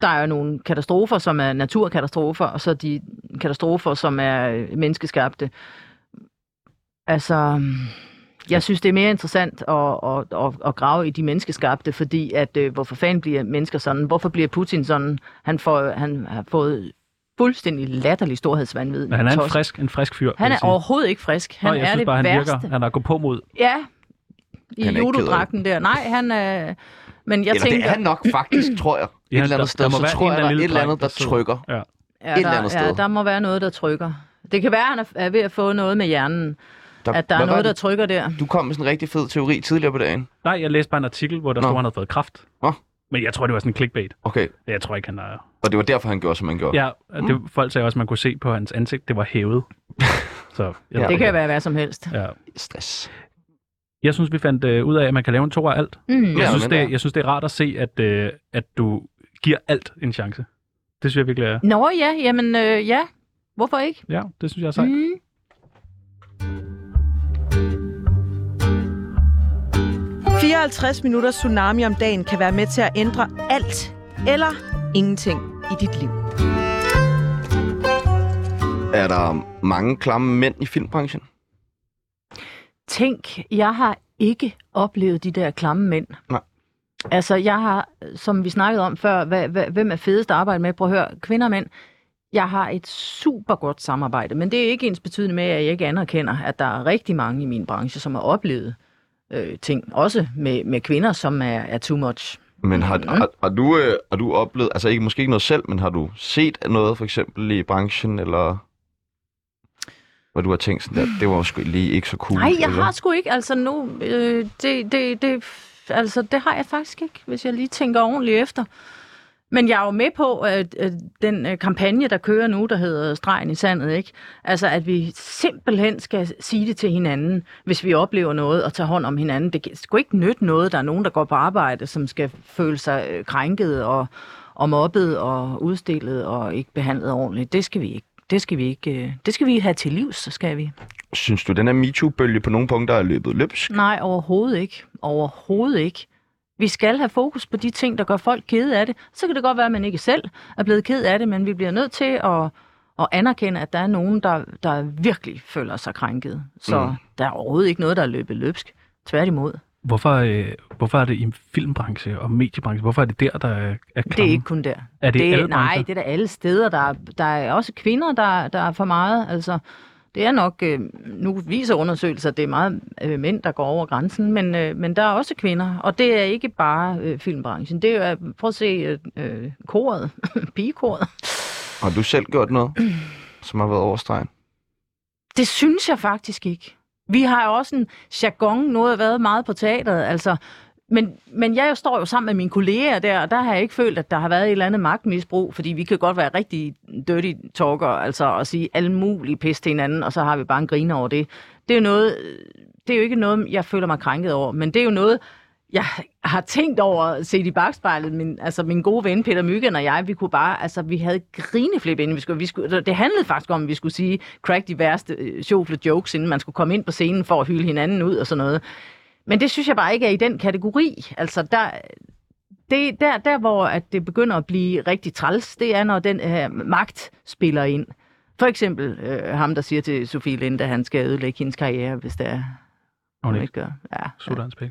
[SPEAKER 4] der er jo nogle katastrofer, som er naturkatastrofer, og så de katastrofer, som er øh, menneskeskabte. Altså, jeg synes, det er mere interessant at, at, at, at grave i de menneskeskabte, fordi at, øh, hvorfor fanden bliver mennesker sådan? Hvorfor bliver Putin sådan? Han, får, han har fået fuldstændig latterlig storhedsvandvid.
[SPEAKER 2] Men han er en
[SPEAKER 4] Tosset.
[SPEAKER 2] frisk, en frisk fyr.
[SPEAKER 4] Han
[SPEAKER 2] vil
[SPEAKER 4] er
[SPEAKER 2] jeg sige.
[SPEAKER 4] overhovedet ikke frisk. Han
[SPEAKER 2] Nå, jeg
[SPEAKER 4] er
[SPEAKER 2] synes
[SPEAKER 4] det
[SPEAKER 2] bare, han
[SPEAKER 4] værste.
[SPEAKER 2] virker. Han er gået på mod.
[SPEAKER 4] Ja, i
[SPEAKER 1] Han er ikke
[SPEAKER 4] judodragten der. Nej, han er... Men
[SPEAKER 1] Jeg
[SPEAKER 4] jeg
[SPEAKER 1] Eller
[SPEAKER 4] tænker...
[SPEAKER 1] det er han nok faktisk, tror jeg. Et
[SPEAKER 2] Ja,
[SPEAKER 1] eller
[SPEAKER 2] der-
[SPEAKER 1] andet
[SPEAKER 2] der
[SPEAKER 1] sted,
[SPEAKER 2] må
[SPEAKER 1] så
[SPEAKER 2] være en
[SPEAKER 1] tror jeg,
[SPEAKER 2] eller
[SPEAKER 1] der er
[SPEAKER 2] anden
[SPEAKER 1] et
[SPEAKER 2] lille
[SPEAKER 1] eller andet,
[SPEAKER 2] dreng,
[SPEAKER 1] der
[SPEAKER 2] der sidder.
[SPEAKER 1] trykker.
[SPEAKER 2] Ja.
[SPEAKER 4] ja,
[SPEAKER 1] et
[SPEAKER 4] der,
[SPEAKER 1] eller andet
[SPEAKER 4] Ja,
[SPEAKER 1] sted.
[SPEAKER 4] der må være noget, der trykker. Det kan være, han er- er ved at få noget med hjernen. At der
[SPEAKER 1] hvad
[SPEAKER 4] er
[SPEAKER 1] var
[SPEAKER 4] noget, der
[SPEAKER 1] det?
[SPEAKER 4] trykker der.
[SPEAKER 1] Du kom med sådan en rigtig fed teori tidligere på dagen.
[SPEAKER 2] Nej, jeg læste bare en artikel, hvor der
[SPEAKER 1] Nå.
[SPEAKER 2] stod, at han havde fået kraft.
[SPEAKER 1] Nå.
[SPEAKER 2] Men jeg tror, det var sådan en clickbait.
[SPEAKER 1] Okay,
[SPEAKER 2] Jeg tror ikke, han er...
[SPEAKER 1] og det var derfor, han gjorde, som han gjorde.
[SPEAKER 2] Ja, det, folk sagde også, at man kunne se på hans ansigt, det var
[SPEAKER 1] *laughs*
[SPEAKER 2] hævet. Så jeg ved
[SPEAKER 1] Det
[SPEAKER 4] Det
[SPEAKER 2] ikke.
[SPEAKER 4] kan være hvad som helst.
[SPEAKER 2] Ja.
[SPEAKER 1] Stress.
[SPEAKER 2] Jeg synes, vi fandt øh, ud af, at man kan lave en to af alt.
[SPEAKER 4] Mm.
[SPEAKER 1] Ja,
[SPEAKER 2] Jeg synes,
[SPEAKER 1] men der-
[SPEAKER 2] det, jeg synes, det er rart at se, at, øh, at du giver alt en chance. Det synes jeg virkelig er...
[SPEAKER 4] Nå ja, jamen øh, ja. Hvorfor ikke?
[SPEAKER 2] Ja, det synes jeg er sejt.
[SPEAKER 4] Mm.
[SPEAKER 5] Mm. 54 minutter tsunami om dagen kan være med til at ændre alt eller ingenting i dit liv.
[SPEAKER 1] Er der mange klamme mænd i filmbranchen?
[SPEAKER 4] Tænk, jeg har ikke oplevet de der klamme mænd.
[SPEAKER 1] Nej.
[SPEAKER 4] Altså, jeg har, som vi snakkede om før, hvad, hvad, hvem er fedest at arbejde med? Prøv at høre, kvinder og mænd. Jeg har et super godt samarbejde, men det er ikke ens betydende med, at jeg ikke anerkender, at der er rigtig mange i min branche, som har oplevet øh, ting, også med, med kvinder, som er, er too much.
[SPEAKER 1] Men har, har, har, du, øh, har du oplevet, altså ikke, måske ikke noget selv, men har du set noget for eksempel i branchen, eller hvor du har tænkt sådan der, det var sgu lige ikke så cool?
[SPEAKER 4] Nej, jeg
[SPEAKER 1] eller?
[SPEAKER 4] har sgu ikke. Altså nu, øh, det, det, det, altså, det har jeg faktisk ikke, hvis jeg lige tænker ordentligt efter. Men jeg er jo med på at, at den øh, kampagne, der kører nu, der hedder Stregen i sandet, ikke? Altså, at vi simpelthen skal sige det til hinanden, hvis vi oplever noget og tager hånd om hinanden. Det kan sgu ikke nytte noget, der er nogen, der går på arbejde, som skal føle sig øh, krænket og, og mobbet og udstillet og ikke behandlet ordentligt. Det skal vi ikke. Det skal vi ikke. øh, Det skal vi have til livs, så skal vi.
[SPEAKER 1] Synes du, den her MeToo-bølge på nogle punkter er løbet løbsk?
[SPEAKER 4] Nej, overhovedet ikke. Overhovedet ikke. Vi skal have fokus på de ting, der gør folk kede af det. Så kan det godt være, at man ikke selv er blevet ked af det, men vi bliver nødt til at, at anerkende, at der er nogen, der, der virkelig føler sig krænket. Så mm. der er overhovedet ikke noget, der er løbet løbsk. Tværtimod.
[SPEAKER 2] Hvorfor, øh, hvorfor er det i filmbranche og mediebranche? Hvorfor er det der, der er, er
[SPEAKER 4] Det er
[SPEAKER 2] klamme?
[SPEAKER 4] ikke kun der.
[SPEAKER 2] Er det i alle
[SPEAKER 4] nej,
[SPEAKER 2] brancher?
[SPEAKER 4] det er der alle steder. Der er, der er også kvinder, der, der er for meget. Altså, det er nok, øh, nu viser undersøgelser, at det er meget øh, mænd, der går over grænsen, men, øh, men der er også kvinder, og det er ikke bare øh, filmbranchen. Det er, jo- prøv at se øh, øh, koret, *laughs* pigekoret.
[SPEAKER 1] Har du selv gjort
[SPEAKER 2] *clears throat*
[SPEAKER 1] noget, som har været overstregen?
[SPEAKER 4] Det synes jeg faktisk ikke. Vi har jo også en jargon, noget har været meget på teateret, altså. Men, men jeg står jo sammen med mine kolleger der, og der har jeg ikke følt, at der har været et eller andet magtmisbrug, fordi vi kan godt være rigtig dirty talker, altså og sige alle mulige pis til hinanden, og så har vi bare en griner over det. Det er jo, noget, det er jo ikke noget, jeg føler mig krænket over, men det er jo noget, jeg har tænkt over set i bagspejlet, min, altså min gode ven Peter Myggen og jeg, vi kunne bare, altså vi havde grineflip inden vi skulle, vi skulle det handlede faktisk om, at vi skulle sige, crack de værste øh, sjofle jokes, inden man skulle komme ind på scenen for at hylde hinanden ud og sådan noget. Men det synes jeg bare ikke er i den kategori. Altså der, det, der, der hvor at det begynder at blive rigtig træls, det er, når den her magt spiller ind. For eksempel øh, ham, der siger til Sofie Linde, at han skal ødelægge hendes karriere, hvis det er,
[SPEAKER 2] Nå,
[SPEAKER 4] hun
[SPEAKER 2] det er ikke.
[SPEAKER 4] ikke gør. Ja, ja.
[SPEAKER 2] Sutter hans pæk.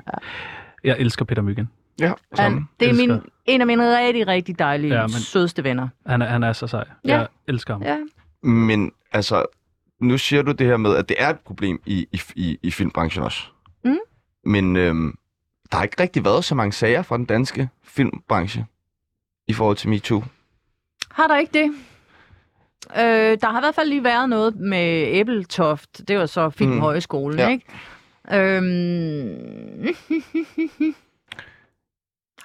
[SPEAKER 2] Jeg elsker Peter Myggen.
[SPEAKER 1] Ja,
[SPEAKER 4] Han, det er min,
[SPEAKER 2] Elsker.
[SPEAKER 4] en af mine rigtig, rigtig dejlige,
[SPEAKER 2] Ja,
[SPEAKER 4] ja,
[SPEAKER 2] men-
[SPEAKER 4] men... sødeste venner.
[SPEAKER 2] Han er, han er så sej.
[SPEAKER 4] Ja.
[SPEAKER 2] Jeg elsker ham.
[SPEAKER 4] Ja.
[SPEAKER 1] Men altså, nu siger du det her med, at det er et problem i, i, i, i filmbranchen også.
[SPEAKER 4] Mm.
[SPEAKER 1] Men øhm, der har ikke rigtig været så mange sager fra den danske filmbranche i forhold til MeToo.
[SPEAKER 4] Har der ikke det? Øh, der har i hvert fald lige været noget med Æbletoft. Det var så Filmhøjskolen,
[SPEAKER 1] Mm. Ja.
[SPEAKER 4] ja. ikke? Øhm...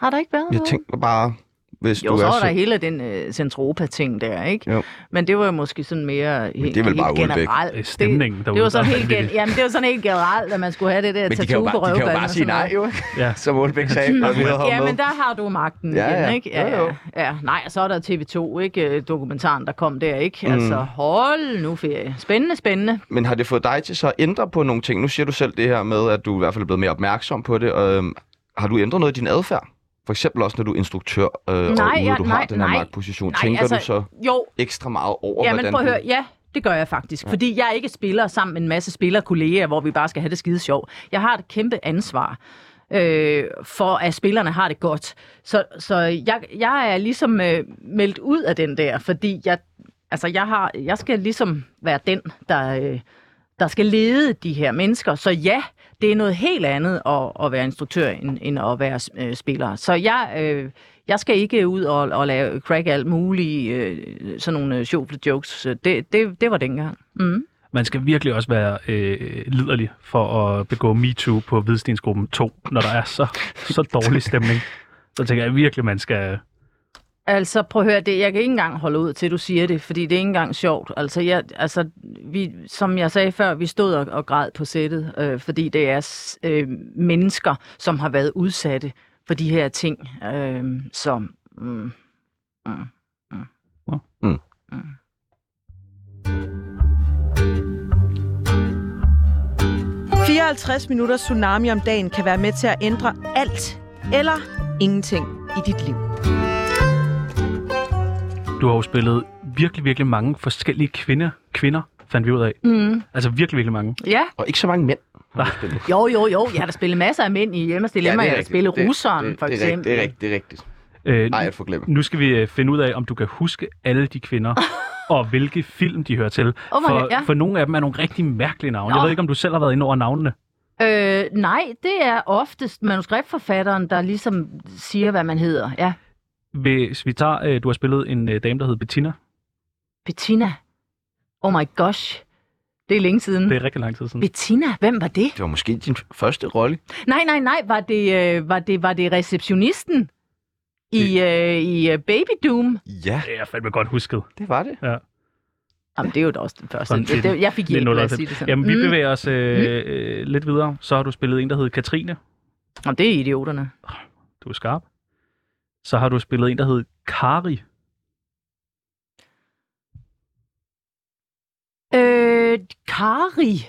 [SPEAKER 4] har der ikke været
[SPEAKER 1] Jeg
[SPEAKER 4] noget?
[SPEAKER 1] tænker bare, hvis
[SPEAKER 4] Jo,
[SPEAKER 1] du
[SPEAKER 4] så
[SPEAKER 1] er
[SPEAKER 4] var der
[SPEAKER 1] så...
[SPEAKER 4] hele den øh, Centropa-ting der, ikke?
[SPEAKER 1] Jo.
[SPEAKER 4] Men det var jo måske sådan mere helt,
[SPEAKER 1] det er vel bare
[SPEAKER 4] helt
[SPEAKER 1] Aalbæk.
[SPEAKER 4] generelt.
[SPEAKER 2] Det er Øh, stemningen
[SPEAKER 4] det, det
[SPEAKER 2] derude,
[SPEAKER 4] var
[SPEAKER 2] der
[SPEAKER 4] sådan
[SPEAKER 2] er
[SPEAKER 4] helt, gen-
[SPEAKER 2] vanvittig.
[SPEAKER 4] jamen, det var sådan helt generelt, at man skulle have det der
[SPEAKER 1] Men de kan, jo
[SPEAKER 4] tattoo på
[SPEAKER 1] bare, de kan jo
[SPEAKER 4] røvballen.
[SPEAKER 1] bare
[SPEAKER 4] og
[SPEAKER 1] sige
[SPEAKER 4] sådan
[SPEAKER 1] nej,
[SPEAKER 4] noget.
[SPEAKER 1] jo. *laughs*
[SPEAKER 2] Ja.
[SPEAKER 1] Som Aalbæk
[SPEAKER 4] *laughs*
[SPEAKER 1] sagde, når vi havde
[SPEAKER 4] Ja,
[SPEAKER 1] med.
[SPEAKER 4] men der har du magten
[SPEAKER 1] Ja,
[SPEAKER 4] igen,
[SPEAKER 1] ja.
[SPEAKER 4] ikke?
[SPEAKER 1] Jo, jo.
[SPEAKER 4] ja. Nej, og så er der TV2, ikke? Øh, Dokumentaren, der kom der, ikke? Mm. Altså, hold nu ferie. Spændende, spændende.
[SPEAKER 1] Men har det fået dig til så at ændre på nogle ting? Nu siger du selv det her med, at du i hvert fald er blevet mere opmærksom på det. Og, øhm, har du ændret noget i din adfærd? For eksempel også, når du er instruktør, øh, og
[SPEAKER 4] Nej,
[SPEAKER 1] ude,
[SPEAKER 4] ja,
[SPEAKER 1] du har
[SPEAKER 4] nej,
[SPEAKER 1] den her
[SPEAKER 4] nej.
[SPEAKER 1] magtposition.
[SPEAKER 4] Nej,
[SPEAKER 1] Tænker
[SPEAKER 4] altså,
[SPEAKER 1] du så
[SPEAKER 4] Jo,
[SPEAKER 1] ekstra meget over,
[SPEAKER 4] ja, men
[SPEAKER 1] hvordan
[SPEAKER 4] prøv at
[SPEAKER 1] du-
[SPEAKER 4] høre. Ja, det gør jeg faktisk. Ja. Fordi jeg ikke spiller sammen med en masse spillerkolleger, hvor vi bare skal have det skide sjovt. Jeg har et kæmpe ansvar øh, for, at spillerne har det godt. Så, så jeg, jeg er ligesom øh, meldt ud af den der, fordi jeg, altså, jeg, har, jeg skal ligesom være den, der... Øh, der skal lede de her mennesker. Så ja, det er noget helt andet at, at være instruktør, end, end at være øh, spiller. Så jeg, øh, jeg skal ikke ud og, og lave crack alt muligt, øh, sådan nogle øh, sjovle jokes. Så Det, det, det var dengang. Mm.
[SPEAKER 2] Man skal virkelig også være øh, liderlig for at begå MeToo på Hvidstensgruppen 2, når der er så, så dårlig stemning.
[SPEAKER 4] *laughs*
[SPEAKER 2] Så tænker jeg virkelig, man skal...
[SPEAKER 4] Altså, prøv at høre, det, jeg kan ikke engang holde ud til, du siger det, fordi det er ikke engang sjovt. Altså, jeg, altså vi, som jeg sagde før, vi stod og, og græd på sættet, øh, fordi det er s- øh, mennesker, som har været udsatte for de her ting, øh, som... Mm,
[SPEAKER 5] Mm. 54 minutter tsunami om dagen kan være med til at ændre alt eller ingenting i dit liv.
[SPEAKER 2] Du har jo spillet virkelig, virkelig mange forskellige kvinder, kvinder fandt vi ud af.
[SPEAKER 4] Mm.
[SPEAKER 2] Altså virkelig, virkelig mange.
[SPEAKER 4] Ja,
[SPEAKER 1] Og ikke så mange mænd.
[SPEAKER 4] jo, jo, jo. Jeg har da spillet masser af mænd i Hjemmes Dilemma. jeg har da spillet
[SPEAKER 1] Det-
[SPEAKER 4] russeren,
[SPEAKER 1] det-
[SPEAKER 4] for
[SPEAKER 1] det er rigtigt,
[SPEAKER 4] eksempel.
[SPEAKER 1] Det er rigtigt, det er rigtigt.
[SPEAKER 2] Øh,
[SPEAKER 1] Nej, jeg får glemt.
[SPEAKER 2] nu skal vi øh, finde ud af, om du kan huske alle de
[SPEAKER 4] *laughs*
[SPEAKER 2] kvinder, og hvilke film de hører til.
[SPEAKER 4] Oh my
[SPEAKER 2] for,
[SPEAKER 4] God, ja.
[SPEAKER 2] for nogle af dem er nogle rigtig mærkelige navne. Jeg
[SPEAKER 4] Nå.
[SPEAKER 2] ved ikke, om du selv har været inde over navnene.
[SPEAKER 4] Øh, nej, det er oftest manuskriptforfatteren, der ligesom siger, hvad man hedder. Ja,
[SPEAKER 2] Hvis vi tager, øh, du har spillet en øh, dame, der hed Bettina.
[SPEAKER 4] Mm. Bettina. Oh my gosh. Det er længe siden.
[SPEAKER 2] Det er rigtig lang tid siden.
[SPEAKER 4] Bettina, hvem var det?
[SPEAKER 1] Det var måske din første rolle.
[SPEAKER 4] Nej, nej, nej, var det, øh, var det, var det receptionisten i, øh, i øh, Baby Doom?
[SPEAKER 1] Ja,
[SPEAKER 2] Det er fandme godt husket.
[SPEAKER 1] det var det.
[SPEAKER 4] Jamen, det er jo da også den første.
[SPEAKER 2] Sådan
[SPEAKER 4] Det, det, jeg fik hjælp, lad os sige det sådan.
[SPEAKER 2] Jamen, vi
[SPEAKER 4] Mm.
[SPEAKER 2] bevæger os øh, øh, lidt videre. Så har du spillet en, der hed Katrine.
[SPEAKER 4] Jamen, det er idioterne.
[SPEAKER 2] Du er skarp. Så har du spillet en, der hed Kari.
[SPEAKER 4] Øh, Kari.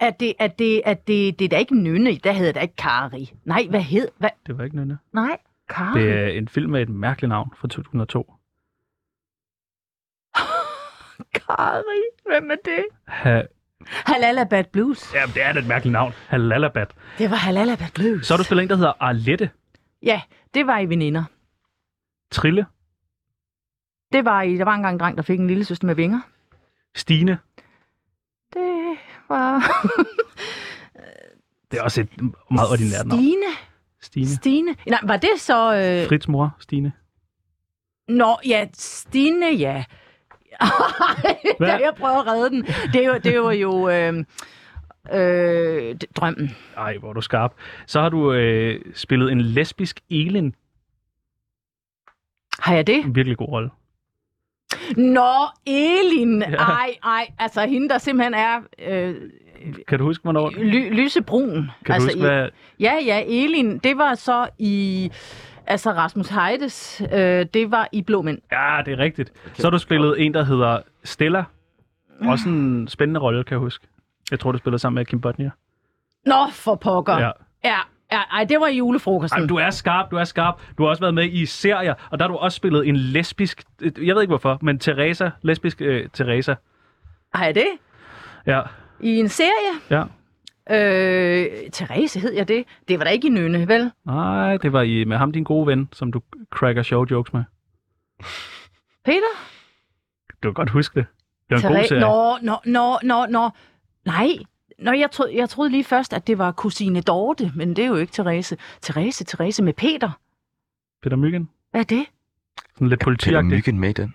[SPEAKER 4] Er det, er det, er det, det er da ikke Nynne, der hedder da ikke Kari. Nej, hvad hed, hvad,
[SPEAKER 2] Det var ikke Nynne.
[SPEAKER 4] nej, Kari.
[SPEAKER 2] Det er en film med et mærkeligt navn fra 2002.
[SPEAKER 4] Kari, hvem er det?
[SPEAKER 2] Ha-
[SPEAKER 4] Halalabad Blues.
[SPEAKER 2] Jamen, det er da et mærkeligt navn. Halalabat.
[SPEAKER 4] Det var Halalabad Blues.
[SPEAKER 2] Så har du spillet en, der hedder Arlette.
[SPEAKER 4] Ja, det var i Veninder.
[SPEAKER 2] Trille.
[SPEAKER 4] Det var i, der var engang en dreng, der fik en lille søster med vinger.
[SPEAKER 2] Stine.
[SPEAKER 4] Det var...
[SPEAKER 2] Det er også et meget ordinært navn.
[SPEAKER 4] Stine.
[SPEAKER 2] Stine.
[SPEAKER 4] Stine. Nej, var det så... Øh...
[SPEAKER 2] Frits mor, Stine.
[SPEAKER 4] Nå, ja, Stine, ja. Hvad?
[SPEAKER 2] *laughs* Hvad?
[SPEAKER 4] *laughs* Jeg prøver at redde den. Det var, det var jo øh, øh, d- drømmen.
[SPEAKER 2] Ej, hvor er du skarp. Så har du øh, spillet en lesbisk Elin.
[SPEAKER 4] Har jeg det?
[SPEAKER 2] En virkelig god rolle.
[SPEAKER 4] Nå, Elin.
[SPEAKER 2] Ja.
[SPEAKER 4] Ej, ej. Altså, hende, der simpelthen er øh,
[SPEAKER 2] Kan du huske, hvornår? Kan
[SPEAKER 4] ly- lysebrun.
[SPEAKER 2] du
[SPEAKER 4] altså,
[SPEAKER 2] huske, hvad...
[SPEAKER 4] i, Ja, ja, Elin. Det var så i... Altså, Rasmus Heides, øh, det var i Blå Mænd.
[SPEAKER 2] Ja, det er rigtigt. Så har du spillet en, der hedder Stella. Også en spændende rolle, kan jeg huske. Jeg tror, du spillede sammen med Kim Bodnia.
[SPEAKER 4] Nå, for pokker.
[SPEAKER 2] Ja.
[SPEAKER 4] Ja. Ja, ja, ej, det var i julefrokosten.
[SPEAKER 2] Ej, men du er skarp, du er skarp. Du har også været med i serier, og der har du også spillet en lesbisk... øh, Jeg ved ikke hvorfor, men Teresa. Lesbisk øh, Teresa.
[SPEAKER 4] Har jeg det?
[SPEAKER 2] Ja,
[SPEAKER 4] I en serie?
[SPEAKER 2] ja.
[SPEAKER 4] Øh, Therese hed jeg det. Det var da ikke i Nynne, vel?
[SPEAKER 2] Nej, det var i, med ham, din gode ven, som du cracker sjove jokes med.
[SPEAKER 4] Peter?
[SPEAKER 2] Du kan godt huske det. Det var en god
[SPEAKER 4] Therese?
[SPEAKER 2] serie.
[SPEAKER 4] Nå, nå, nå, nå, nå. Nej, Nå, jeg, troede, jeg troede lige først, at det var kusine Dorte, men det er jo ikke Therese. Therese, Therese med Peter.
[SPEAKER 2] Peter Myggen.
[SPEAKER 4] Hvad er det?
[SPEAKER 2] Sådan lidt
[SPEAKER 1] Peter
[SPEAKER 2] politiagtig.
[SPEAKER 1] Myggen med i den.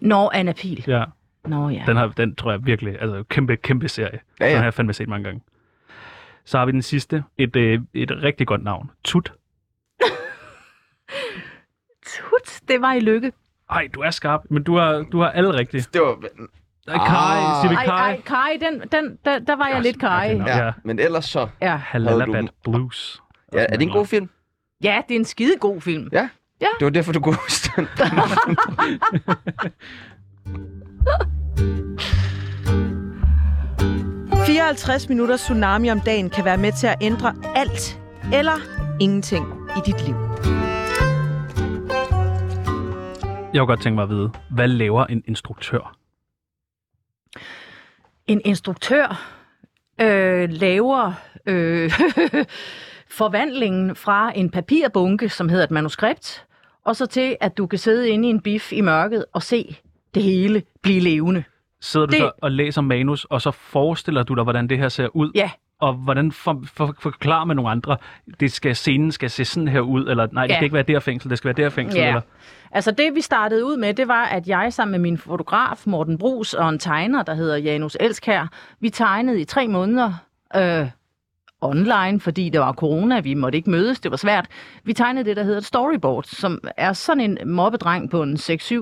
[SPEAKER 4] Nå, Anna Pil.
[SPEAKER 2] Ja,
[SPEAKER 4] Nå ja.
[SPEAKER 2] den, har, den tror jeg virkelig, altså kæmpe, kæmpe serie.
[SPEAKER 1] Ja,
[SPEAKER 2] Den
[SPEAKER 1] ja.
[SPEAKER 2] har jeg fandme set mange gange. Så har vi den sidste, et, øh, et rigtig godt navn. Tut.
[SPEAKER 4] Tut. Det var i lykke.
[SPEAKER 2] Ej, du er skarp, men du har, du har alle rigtigt.
[SPEAKER 1] Det var...
[SPEAKER 2] Ej, Kai,
[SPEAKER 1] Ah.
[SPEAKER 2] siger vi
[SPEAKER 4] Ej,
[SPEAKER 2] Kai?
[SPEAKER 4] ej, Kai, den, den, der, der var jeg lidt Kai.
[SPEAKER 2] det er nok.
[SPEAKER 1] Ja,
[SPEAKER 2] Ja.
[SPEAKER 1] men ellers så...
[SPEAKER 4] Ja.
[SPEAKER 2] Halalabad Blues.
[SPEAKER 1] Ja, er det en god film?
[SPEAKER 4] ja, det er en skide god film.
[SPEAKER 1] Ja.
[SPEAKER 4] Ja.
[SPEAKER 1] Det var derfor, du kunne huske den.
[SPEAKER 5] det. 54 minutter tsunami om dagen kan være med til at ændre alt eller ingenting i dit liv.
[SPEAKER 2] Jeg kunne godt tænke mig at vide, hvad laver en instruktør?
[SPEAKER 4] En instruktør øh, laver øh, *laughs* forvandlingen fra en papirbunke, som hedder et manuskript, og så til, at du kan sidde inde i en bif i mørket og se det hele blive levende.
[SPEAKER 2] Sidder du
[SPEAKER 4] Det-
[SPEAKER 2] det... så og læser manus, og så forestiller du dig, hvordan det her ser ud?
[SPEAKER 4] Ja,
[SPEAKER 2] Og hvordan for, for, forklarer man nogle andre, det skal, scenen skal se sådan her ud, eller nej, det
[SPEAKER 4] Ja.
[SPEAKER 2] skal ikke være der fængsel, det skal være der fængsel,
[SPEAKER 4] Ja.
[SPEAKER 2] eller...
[SPEAKER 4] Altså det, vi startede ud med, det var, at jeg sammen med min fotograf Morten Brus og en tegner, der hedder Janus Elskær, vi tegnede i tre måneder øh, online, fordi det var corona, vi måtte ikke mødes, det var svært. Vi tegnede det, der hedder et storyboard, som er sådan en mobbedreng på en 6-7 cm.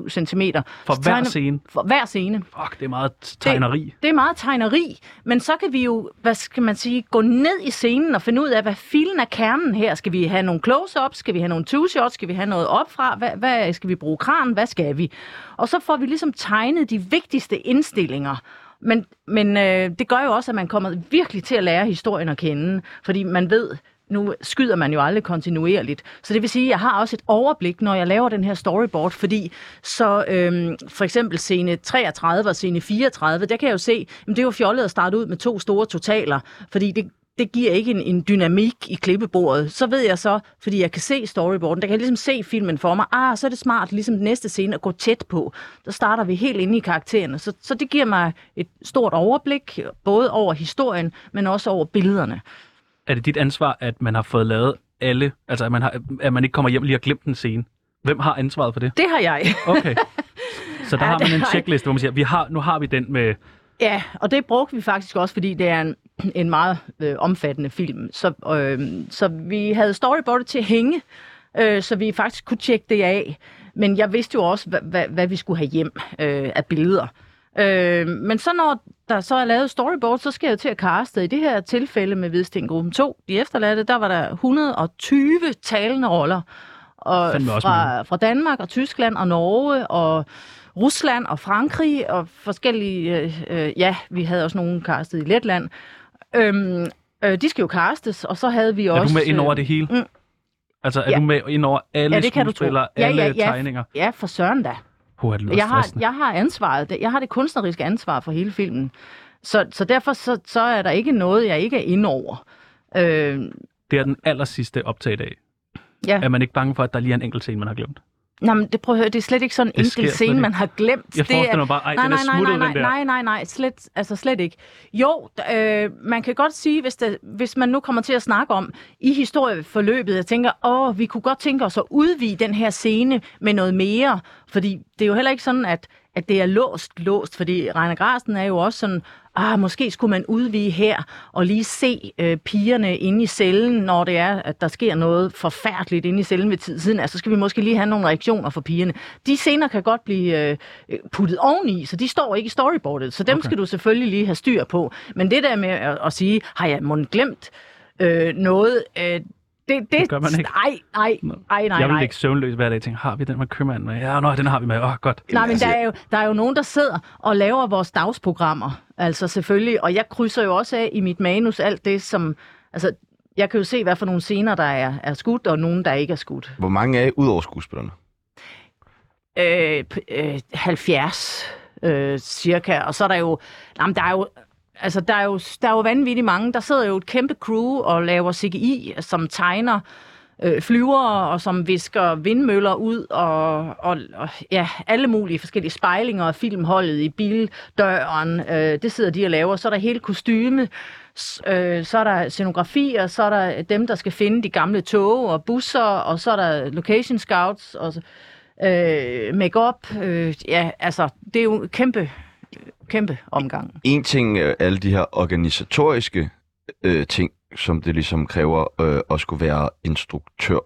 [SPEAKER 2] For hver scene?
[SPEAKER 4] For hver scene.
[SPEAKER 2] Fuck, det er meget tegneri. Det...
[SPEAKER 4] Det er meget tegneri, men så kan vi jo, hvad skal man sige, gå ned i scenen og finde ud af, hvad filen er kernen her. Skal vi have nogle close-ups? Skal vi have nogle two-shots? Skal vi have noget opfra? Hvad, hvad skal vi bruge kranen? Hvad skal vi? Og så får vi ligesom tegnet de vigtigste indstillinger. Men, men øh, det gør jo også, at man kommer virkelig til at lære historien at kende, fordi man ved, nu skyder man jo aldrig kontinuerligt. Så det vil sige, at jeg har også et overblik, når jeg laver den her storyboard, fordi så øhm, for eksempel scene 33 og scene 34, der kan jeg jo se, at det er jo fjollet at starte ud med to store totaler, fordi det, det giver ikke en, en dynamik i klippebordet. Så ved jeg så, fordi jeg kan se storyboarden, der kan jeg ligesom se filmen for mig, ah, så er det smart, ligesom den næste scene, at gå tæt på. Der starter vi helt inde i karaktererne. Så, så det giver mig et stort overblik, både over historien, men også over billederne.
[SPEAKER 2] Er det dit ansvar, at man har fået lavet alle, altså at man, har, at man ikke kommer hjem lige og glemt en scene? Hvem har ansvaret for det?
[SPEAKER 4] Det har jeg. *laughs*
[SPEAKER 2] Okay. Så der
[SPEAKER 4] Ja,
[SPEAKER 2] har
[SPEAKER 4] det
[SPEAKER 2] man en
[SPEAKER 4] har jeg.
[SPEAKER 2] checkliste, hvor man siger, vi har, nu har vi den med...
[SPEAKER 4] Ja, og det brugte vi faktisk også, fordi det er en, en meget øh, omfattende film. Så, øh, så vi havde storyboardet til at hænge, øh, så vi faktisk kunne tjekke det af. Men jeg vidste jo også, hvad, hvad, hvad vi skulle have hjem øh, af billeder. Øh, men så når der så er lavet storyboard, så skal jeg jo til at kaste. I det her tilfælde med Hvidsten Gruppen 2, de efterladte, der var der 120 talende roller. Og
[SPEAKER 2] Fandme også
[SPEAKER 4] fra, fra Danmark og Tyskland og Norge og Rusland og Frankrig og forskellige... Øh, øh, ja, vi havde også nogen castet i Letland. Øhm, øh, de skal jo castes, og så havde vi også...
[SPEAKER 2] Er du med ind over
[SPEAKER 4] øh,
[SPEAKER 2] det hele?
[SPEAKER 4] mm.
[SPEAKER 2] Altså, er
[SPEAKER 4] Ja.
[SPEAKER 2] du med ind over alle
[SPEAKER 4] Ja, det kan du tro.
[SPEAKER 2] skuespillere,
[SPEAKER 4] Ja,
[SPEAKER 2] alle
[SPEAKER 4] ja, ja.
[SPEAKER 2] tegninger?
[SPEAKER 4] Ja, for søren da.
[SPEAKER 2] Puh, det lyder
[SPEAKER 4] jeg har,
[SPEAKER 2] stressende.
[SPEAKER 4] jeg har ansvaret. Det- Jeg har det kunstneriske ansvar for hele filmen. Så, så derfor så, så er der ikke noget, jeg ikke er inde over. Øh,
[SPEAKER 2] Det er den aller sidste optag i dag.
[SPEAKER 4] Ja.
[SPEAKER 2] Er man ikke bange for, at der lige er en enkelt scene, man har glemt?
[SPEAKER 4] nej, men det, prøv at høre, det er slet ikke sådan en
[SPEAKER 2] Det sker
[SPEAKER 4] enkelt
[SPEAKER 2] slet
[SPEAKER 4] scene,
[SPEAKER 2] ikke.
[SPEAKER 4] man har glemt.
[SPEAKER 2] Jeg
[SPEAKER 4] det
[SPEAKER 2] forestiller
[SPEAKER 4] er,
[SPEAKER 2] mig bare, ej,
[SPEAKER 4] nej,
[SPEAKER 2] den er
[SPEAKER 4] nej, nej,
[SPEAKER 2] smuttet,
[SPEAKER 4] nej,
[SPEAKER 2] den der.
[SPEAKER 4] nej, nej, nej, slet, altså slet ikke. Jo, d- øh, man kan godt sige, hvis, det, hvis man nu kommer til at snakke om i historieforløbet, jeg tænker, åh, vi kunne godt tænke os at udvide den her scene med noget mere, fordi det er jo heller ikke sådan, at, at det er låst, låst, fordi Rainer Grasten er jo også sådan, ah, måske skulle man udvige her og lige se øh, pigerne inde i cellen, når det er, at der sker noget forfærdeligt inde i cellen ved tid siden. Altså, så skal vi måske lige have nogle reaktioner fra pigerne. De scener kan godt blive øh, øh, puttet oveni, så de står ikke i storyboardet. Så dem okay. skal du selvfølgelig lige have styr på. Men det der med at, at sige, har jeg mon glemt øh, noget... Øh, det, det,
[SPEAKER 2] Det gør man ikke.
[SPEAKER 4] Nej, nej, nej, nej.
[SPEAKER 2] jeg vil
[SPEAKER 4] nej.
[SPEAKER 2] ikke søvnløs hver dag og tænke, har vi den med købmanden med? Ja, nå, den har vi med. Åh, oh, godt.
[SPEAKER 4] Nej, men
[SPEAKER 1] altså-
[SPEAKER 4] der er, jo, der er jo nogen, der sidder og laver vores dagsprogrammer, altså selvfølgelig. Og jeg krydser jo også af i mit manus alt det, som... Altså, jeg kan jo se, hvad for nogle scener, der er, er skudt, og nogen, der ikke er skudt.
[SPEAKER 1] Hvor mange er I, udover skuespillerne?
[SPEAKER 4] Øh, p- øh, 70 øh, cirka, og så er der jo, jamen, der er jo Altså, der er, jo, der er jo vanvittigt mange. Der sidder jo et kæmpe crew og laver CGI, som tegner øh, flyver og som visker vindmøller ud og, og, og ja, alle mulige forskellige spejlinger af filmholdet i bildøren. Øh, det sidder de og laver. Så er der hele kostyme, s- øh, så er der scenografi, og så er der dem, der skal finde de gamle tog og busser, og så er der location scouts og så- øh, make-up. Øh, ja, altså, det er jo en kæmpe, kæmpe omgang.
[SPEAKER 1] En ting er alle de her organisatoriske øh, ting, som det ligesom kræver øh, at skulle være instruktør.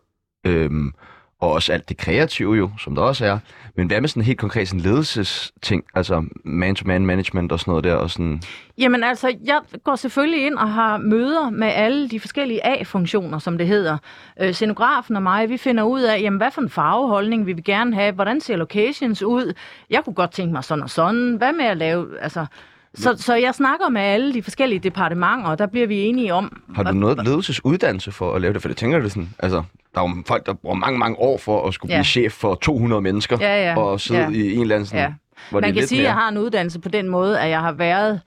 [SPEAKER 1] Øhm, og også alt det kreative jo, som der også er. Men hvad med sådan helt konkret sådan ledelsesting, altså man-to-man management og sådan noget der? Og sådan...
[SPEAKER 4] Jamen altså, jeg går selvfølgelig ind og har møder med alle de forskellige A-funktioner, som det hedder. Øh, scenografen og mig, vi finder ud af, jamen, hvad for en farveholdning vi vil gerne have, hvordan ser locations ud, jeg kunne godt tænke mig sådan og sådan, hvad med at lave, altså... Så, så jeg snakker med alle de forskellige departementer, og der bliver vi enige om...
[SPEAKER 1] Har du noget ledelsesuddannelse for at lave det? For det tænker du sådan, altså, der er jo folk, der bruger mange, mange år for at skulle
[SPEAKER 4] Ja.
[SPEAKER 1] blive chef for 200 mennesker,
[SPEAKER 4] Ja, ja.
[SPEAKER 1] og sidde
[SPEAKER 4] Ja.
[SPEAKER 1] i en eller anden sådan,
[SPEAKER 4] Ja.
[SPEAKER 1] hvor det
[SPEAKER 4] Man
[SPEAKER 1] er
[SPEAKER 4] kan
[SPEAKER 1] lidt
[SPEAKER 4] sige, at
[SPEAKER 1] mere...
[SPEAKER 4] jeg har en uddannelse på den måde, at jeg har været,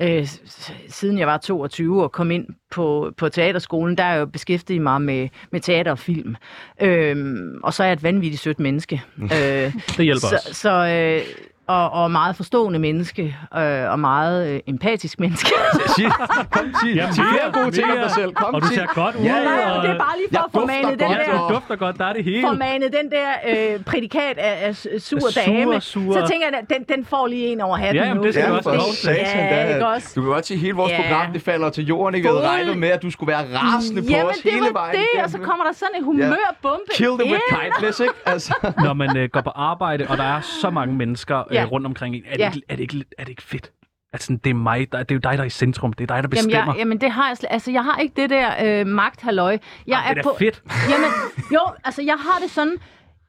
[SPEAKER 4] øh, s- s- siden jeg var 22 og kom ind på, på teaterskolen, der er jeg jo beskæftiget mig med, med teater og film. Øhm, og så er jeg et vanvittigt sødt
[SPEAKER 2] *laughs*
[SPEAKER 4] menneske. øh,
[SPEAKER 2] Det hjælper
[SPEAKER 4] så,
[SPEAKER 2] os.
[SPEAKER 4] så, øh, og, og meget forstående menneske, øh, og meget øh, empatisk menneske.
[SPEAKER 1] *laughs* Sig, kom, sig,
[SPEAKER 2] Ja,
[SPEAKER 1] ja, sig
[SPEAKER 2] mere,
[SPEAKER 1] flere gode ting om
[SPEAKER 2] mere.
[SPEAKER 1] dig selv. Kom,
[SPEAKER 2] Og du
[SPEAKER 1] sig.
[SPEAKER 2] ser godt ud,
[SPEAKER 1] Ja,
[SPEAKER 4] Nej,
[SPEAKER 1] ja.
[SPEAKER 4] men det er bare lige for
[SPEAKER 1] Jeg
[SPEAKER 4] at få
[SPEAKER 1] dufter
[SPEAKER 4] manet den
[SPEAKER 1] godt,
[SPEAKER 4] der
[SPEAKER 1] og-
[SPEAKER 2] Du dufter godt, der er det hele.
[SPEAKER 4] formanet den der øh, prædikat af, af s- sur
[SPEAKER 2] Af sure,
[SPEAKER 4] dame,
[SPEAKER 2] sure.
[SPEAKER 4] så tænker jeg, at den, den får lige en over hatten
[SPEAKER 2] Ja, jamen,
[SPEAKER 4] nu.
[SPEAKER 2] det skal
[SPEAKER 4] ikke?
[SPEAKER 2] du
[SPEAKER 1] Ja,
[SPEAKER 2] også
[SPEAKER 1] for
[SPEAKER 2] lov til.
[SPEAKER 1] satan
[SPEAKER 4] Ja,
[SPEAKER 1] da.
[SPEAKER 4] ikke også?
[SPEAKER 1] Du kan godt se, at hele vores
[SPEAKER 4] Ja.
[SPEAKER 1] program det falder til jorden. Ikke? Vi havde
[SPEAKER 4] Fuld-
[SPEAKER 1] regnet med, at du skulle være rasende på
[SPEAKER 4] Jamen,
[SPEAKER 1] os
[SPEAKER 4] det
[SPEAKER 1] hele
[SPEAKER 4] var
[SPEAKER 1] vejen.
[SPEAKER 4] det,
[SPEAKER 1] igennem.
[SPEAKER 4] og så kommer der sådan en humørbombe
[SPEAKER 1] Kill them with
[SPEAKER 4] ind.
[SPEAKER 1] kindness, ikke? Altså,
[SPEAKER 2] Når man øh, går på arbejde, og der er så
[SPEAKER 4] *laughs*
[SPEAKER 2] mange mennesker øh,
[SPEAKER 4] Ja.
[SPEAKER 2] rundt omkring en, er det,
[SPEAKER 4] Ja.
[SPEAKER 2] ikke, er, det ikke, er det ikke fedt? At sådan, det er mig, der, det er jo dig, der er i centrum. Det er dig, der
[SPEAKER 4] Jamen,
[SPEAKER 2] bestemmer.
[SPEAKER 4] jeg, jamen, det har jeg, slet- altså, jeg har ikke det der øh, magthalløj. Jeg
[SPEAKER 2] det er da fedt.
[SPEAKER 4] *laughs* Jamen, jo, altså, jeg har det sådan,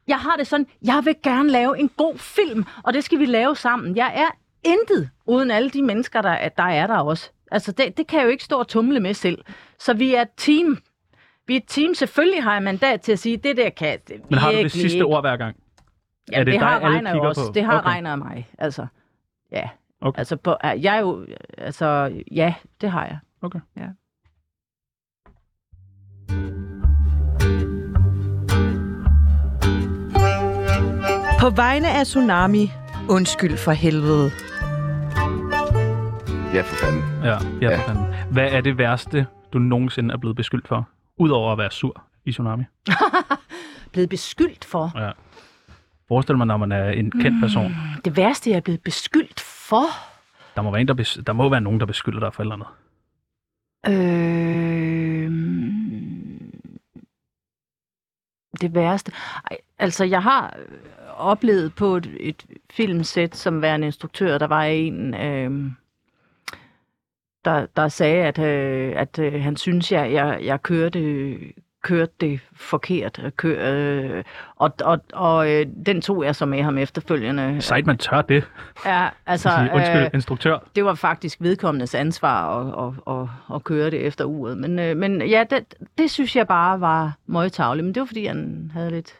[SPEAKER 4] jeg har det sådan, jeg vil gerne lave en god film, og det skal vi lave sammen. Jeg er intet uden alle de mennesker, der, der er der også. Altså, det, det kan jeg jo ikke stå og tumle med selv. Så vi er et team. Vi er et team. Selvfølgelig har jeg mandat til at sige, det der kan det
[SPEAKER 2] Men har du det
[SPEAKER 4] virkelig
[SPEAKER 2] sidste
[SPEAKER 4] ikke.
[SPEAKER 2] ord hver gang?
[SPEAKER 4] Jamen,
[SPEAKER 2] det
[SPEAKER 4] det,
[SPEAKER 2] dig,
[SPEAKER 4] har
[SPEAKER 2] alle
[SPEAKER 4] regner jo
[SPEAKER 2] kigger
[SPEAKER 4] også.
[SPEAKER 2] på?
[SPEAKER 4] Det har
[SPEAKER 2] Okay.
[SPEAKER 4] okay. regner af mig. Altså, ja.
[SPEAKER 2] Okay.
[SPEAKER 4] Okay. Altså, på, jeg er jo... Altså, ja, det har jeg.
[SPEAKER 2] Okay.
[SPEAKER 5] På vegne af Tsunami, undskyld for helvede.
[SPEAKER 1] ja, for fanden.
[SPEAKER 2] Ja, ja,
[SPEAKER 1] Ja.
[SPEAKER 2] for fanden. Hvad er det værste, du nogensinde er blevet beskyldt for? Udover at være sur i Tsunami.
[SPEAKER 4] Blevet beskyldt for.
[SPEAKER 2] Ja. Forestil mig, når man er en kendt person.
[SPEAKER 4] Det værste, jeg er blevet beskyldt for...
[SPEAKER 2] Der må være, en, der, bes- der må være nogen, der beskylder dig for et eller andet.
[SPEAKER 4] Øh... Det værste... Ej, altså, jeg har øh, oplevet på et, et filmsæt som værende instruktør, der var en... Øh... Der, der sagde, at, øh, at øh, han synes, jeg, jeg, jeg kørte, kørte det forkert. øh, Kør, øh, og og, og øh, den tog jeg så med ham efterfølgende.
[SPEAKER 2] Sejt, man tør det.
[SPEAKER 4] Ja, altså, *laughs*
[SPEAKER 2] Så, undskyld,
[SPEAKER 4] øh,
[SPEAKER 2] instruktør.
[SPEAKER 4] det var faktisk vedkommendes ansvar at, at, at, at køre det efter uret. Men, øh, men ja, det, det synes jeg bare var møgtavligt. Men det var, fordi han havde lidt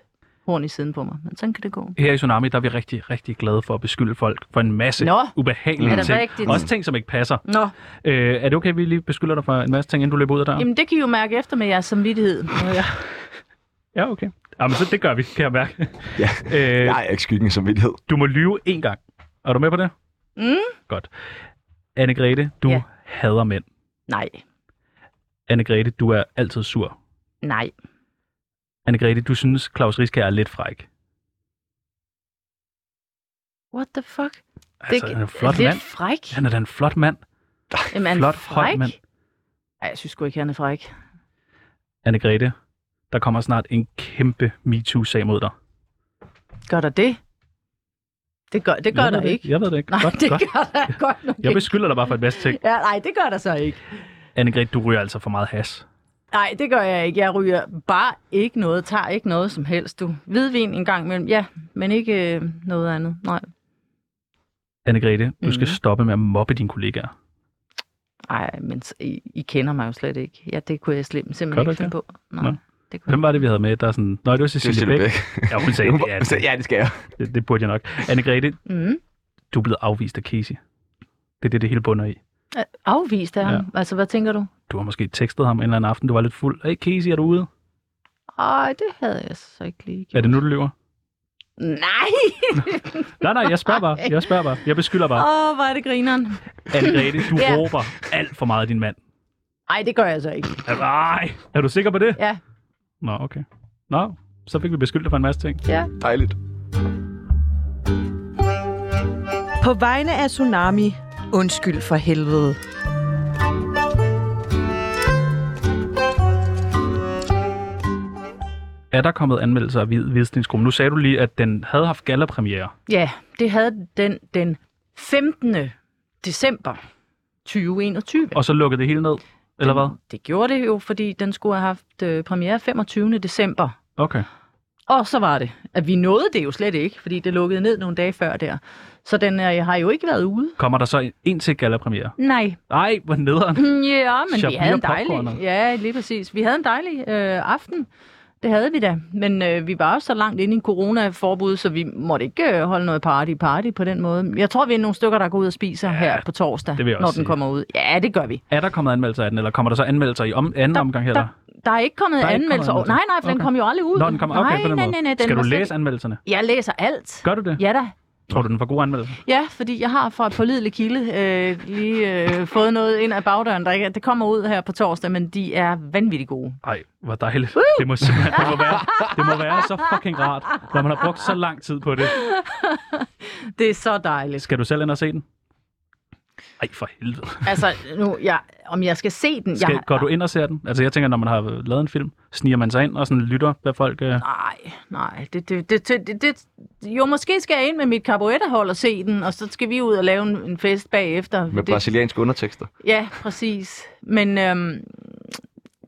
[SPEAKER 4] horn i siden på mig. Men sådan kan det gå.
[SPEAKER 2] Her i Tsunami, der er vi rigtig, rigtig glade for at beskylde folk for en masse
[SPEAKER 4] Nå,
[SPEAKER 2] ubehagelige
[SPEAKER 4] er det
[SPEAKER 2] ting.
[SPEAKER 4] rigtigt?
[SPEAKER 2] Også ting, som ikke passer.
[SPEAKER 4] Nå,
[SPEAKER 2] Øh, er det okay, at vi lige beskylder dig for en masse ting, inden du løber ud af døren?
[SPEAKER 4] jamen det kan I jo mærke efter med jeres samvittighed.
[SPEAKER 2] Ja, okay. Jamen, så det gør vi, kan jeg mærke.
[SPEAKER 1] Ja.
[SPEAKER 2] Øh,
[SPEAKER 1] Jeg er ikke skyggen af samvittighed.
[SPEAKER 2] Du må lyve én gang. Er du med på det?
[SPEAKER 4] Mm.
[SPEAKER 2] Godt. Anne-Grethe, du
[SPEAKER 4] Ja.
[SPEAKER 2] hader mænd.
[SPEAKER 4] Nej,
[SPEAKER 2] Anne-Grethe, du er altid sur.
[SPEAKER 4] nej.
[SPEAKER 2] Anne-Grethe, du synes, Claus Riskær er lidt fræk.
[SPEAKER 4] What the fuck?
[SPEAKER 2] Altså, han er en flot
[SPEAKER 4] lidt
[SPEAKER 2] mand.
[SPEAKER 4] fræk.
[SPEAKER 2] Han er da en flot mand.
[SPEAKER 4] Jamen, er han
[SPEAKER 2] flot, høj
[SPEAKER 4] fræk?
[SPEAKER 2] mand.
[SPEAKER 4] Ej, jeg synes sgu ikke, han er fræk.
[SPEAKER 2] Anne-Grethe, der kommer snart en kæmpe MeToo-sag mod dig.
[SPEAKER 4] Gør der det? Det gør, det gør
[SPEAKER 2] jeg ved
[SPEAKER 4] der ikke.
[SPEAKER 2] Jeg ved det ikke.
[SPEAKER 4] Nej,
[SPEAKER 2] godt,
[SPEAKER 4] det
[SPEAKER 2] godt.
[SPEAKER 4] gør der godt nok
[SPEAKER 2] Jeg
[SPEAKER 4] ikke.
[SPEAKER 2] beskylder dig bare for en masse
[SPEAKER 4] *laughs*
[SPEAKER 2] ting.
[SPEAKER 4] Ja, nej, det gør der så ikke.
[SPEAKER 2] Anne-Grethe, du ryger altså for meget has.
[SPEAKER 4] Nej, det gør jeg ikke. Jeg ryger bare ikke noget, tager ikke noget som helst. Du hvidvin en gang imellem, ja, men ikke øh, noget andet. Nej,
[SPEAKER 2] Anne-Grethe, du skal
[SPEAKER 4] Mhm.
[SPEAKER 2] stoppe med at mobbe dine kollegaer.
[SPEAKER 4] Ej, men s- I, I kender mig jo slet ikke. Ja, det kunne jeg slim,
[SPEAKER 2] Gør
[SPEAKER 4] simpelthen
[SPEAKER 2] du
[SPEAKER 4] ikke finde på. Nej,
[SPEAKER 2] Nå.
[SPEAKER 4] det kunne
[SPEAKER 2] Hvem var det, vi havde med, der er sådan... Nå, det var Cecilie Bæk. Ja, *laughs* hun sagde, det, er, det.
[SPEAKER 1] *laughs* Ja, det skal jeg.
[SPEAKER 2] det, det burde jeg nok. Anne-Grethe,
[SPEAKER 4] jeg. Mm.
[SPEAKER 2] du er blevet afvist af Casey. Det er det, det hele bunder i.
[SPEAKER 4] Afvist af
[SPEAKER 2] Ja.
[SPEAKER 4] ja. ham. Altså, hvad tænker du?
[SPEAKER 2] Du har måske tekstet ham en eller anden aften, du var lidt fuld. Hey Casey, er du ude?
[SPEAKER 4] Ej, det havde jeg så ikke lige
[SPEAKER 2] Er
[SPEAKER 4] gjort.
[SPEAKER 2] det nu, du lyver?
[SPEAKER 4] Nej!
[SPEAKER 2] Nej, nej, jeg spørger bare. Jeg spørger bare. Jeg beskylder bare.
[SPEAKER 4] Åh, oh, hvor er det grineren.
[SPEAKER 2] Anne-Grethe, du
[SPEAKER 4] *laughs* Ja.
[SPEAKER 2] råber alt for meget af din mand.
[SPEAKER 4] Ej, det gør jeg så ikke.
[SPEAKER 2] Nej, er du sikker på det?
[SPEAKER 4] Ja.
[SPEAKER 2] Nå, okay. Nå, så fik vi beskyldt dig for en masse ting.
[SPEAKER 4] Ja.
[SPEAKER 1] Dejligt.
[SPEAKER 5] På vegne af Tsunami, undskyld for helvede.
[SPEAKER 2] er der kommet anmeldelser af Hvid- Hvidstensgruppen? Nu sagde du lige, at den havde haft gallapremiere.
[SPEAKER 4] Ja, det havde den den 15. december 2021.
[SPEAKER 2] Og så lukkede det hele ned, eller hvad?
[SPEAKER 4] Det gjorde det jo, fordi den skulle have haft øh, premiere 25. december
[SPEAKER 2] Okay.
[SPEAKER 4] Og så var det, at vi nåede det jo slet ikke, fordi det lukkede ned nogle dage før der. Så den øh, har jo ikke været ude.
[SPEAKER 2] Kommer der så en, en til gallapremiere?
[SPEAKER 4] Nej.
[SPEAKER 2] Nej, hvor nederen.
[SPEAKER 4] Mm, Ja, men vi
[SPEAKER 2] Shabir
[SPEAKER 4] havde en dejlig...
[SPEAKER 2] popcorner.
[SPEAKER 4] Ja, lige præcis. Vi havde en dejlig øh, aften. Det havde vi da. Men øh, vi var også så langt inde i coronaforbud, så vi måtte ikke øh, holde noget party-party på den måde. Jeg tror, vi er nogle stykker, der går ud og spiser ja, her på torsdag,
[SPEAKER 2] det vil jeg også
[SPEAKER 4] når den
[SPEAKER 2] sige.
[SPEAKER 4] kommer ud. Ja, det gør vi.
[SPEAKER 2] Er der kommet anmeldelser af den, eller kommer der så anmeldelser i om, anden omgang heller?
[SPEAKER 4] Der, der er ikke kommet
[SPEAKER 2] Der er ikke kommet
[SPEAKER 4] anmeldelser. over- Nej,
[SPEAKER 2] anmeldelser.
[SPEAKER 4] nej, for okay. den
[SPEAKER 2] Okay.
[SPEAKER 4] kom jo aldrig ud.
[SPEAKER 2] Nå, den kommer okay
[SPEAKER 4] nej,
[SPEAKER 2] på den
[SPEAKER 4] nej,
[SPEAKER 2] måde.
[SPEAKER 4] nej, nej, den
[SPEAKER 2] Skal
[SPEAKER 4] var
[SPEAKER 2] du
[SPEAKER 4] slet-
[SPEAKER 2] læse anmeldelserne?
[SPEAKER 4] Jeg læser alt.
[SPEAKER 2] Gør du det?
[SPEAKER 4] Ja da.
[SPEAKER 2] Tror du, den får gode anmeldelser?
[SPEAKER 4] Ja, fordi jeg har fra et pålideligt kilde øh, lige øh, fået noget ind ad bagdøren. Der ikke, det kommer ud her på torsdag, men de er vanvittigt gode.
[SPEAKER 2] Nej, hvor dejligt. Det må simpelthen det må være, det må være så fucking rart, når man har brugt så lang tid på det.
[SPEAKER 4] Det er så dejligt.
[SPEAKER 2] Skal du selv ind og se den? Ej, for helvede.
[SPEAKER 4] Altså, nu, jeg, om jeg skal se den?
[SPEAKER 2] Skal,
[SPEAKER 4] jeg,
[SPEAKER 2] går du ind og ser den? Altså, jeg tænker, når man har lavet en film, sniger man sig ind og sådan lytter, hvad folk... Øh...
[SPEAKER 4] Nej, nej. Det, det, det, det, det, det, jo, måske skal jeg ind med mit carburetterhold og se den, og så skal vi ud og lave en, en fest bagefter.
[SPEAKER 1] Med
[SPEAKER 4] det,
[SPEAKER 1] brasilianske undertekster.
[SPEAKER 4] Ja, præcis. Men øhm,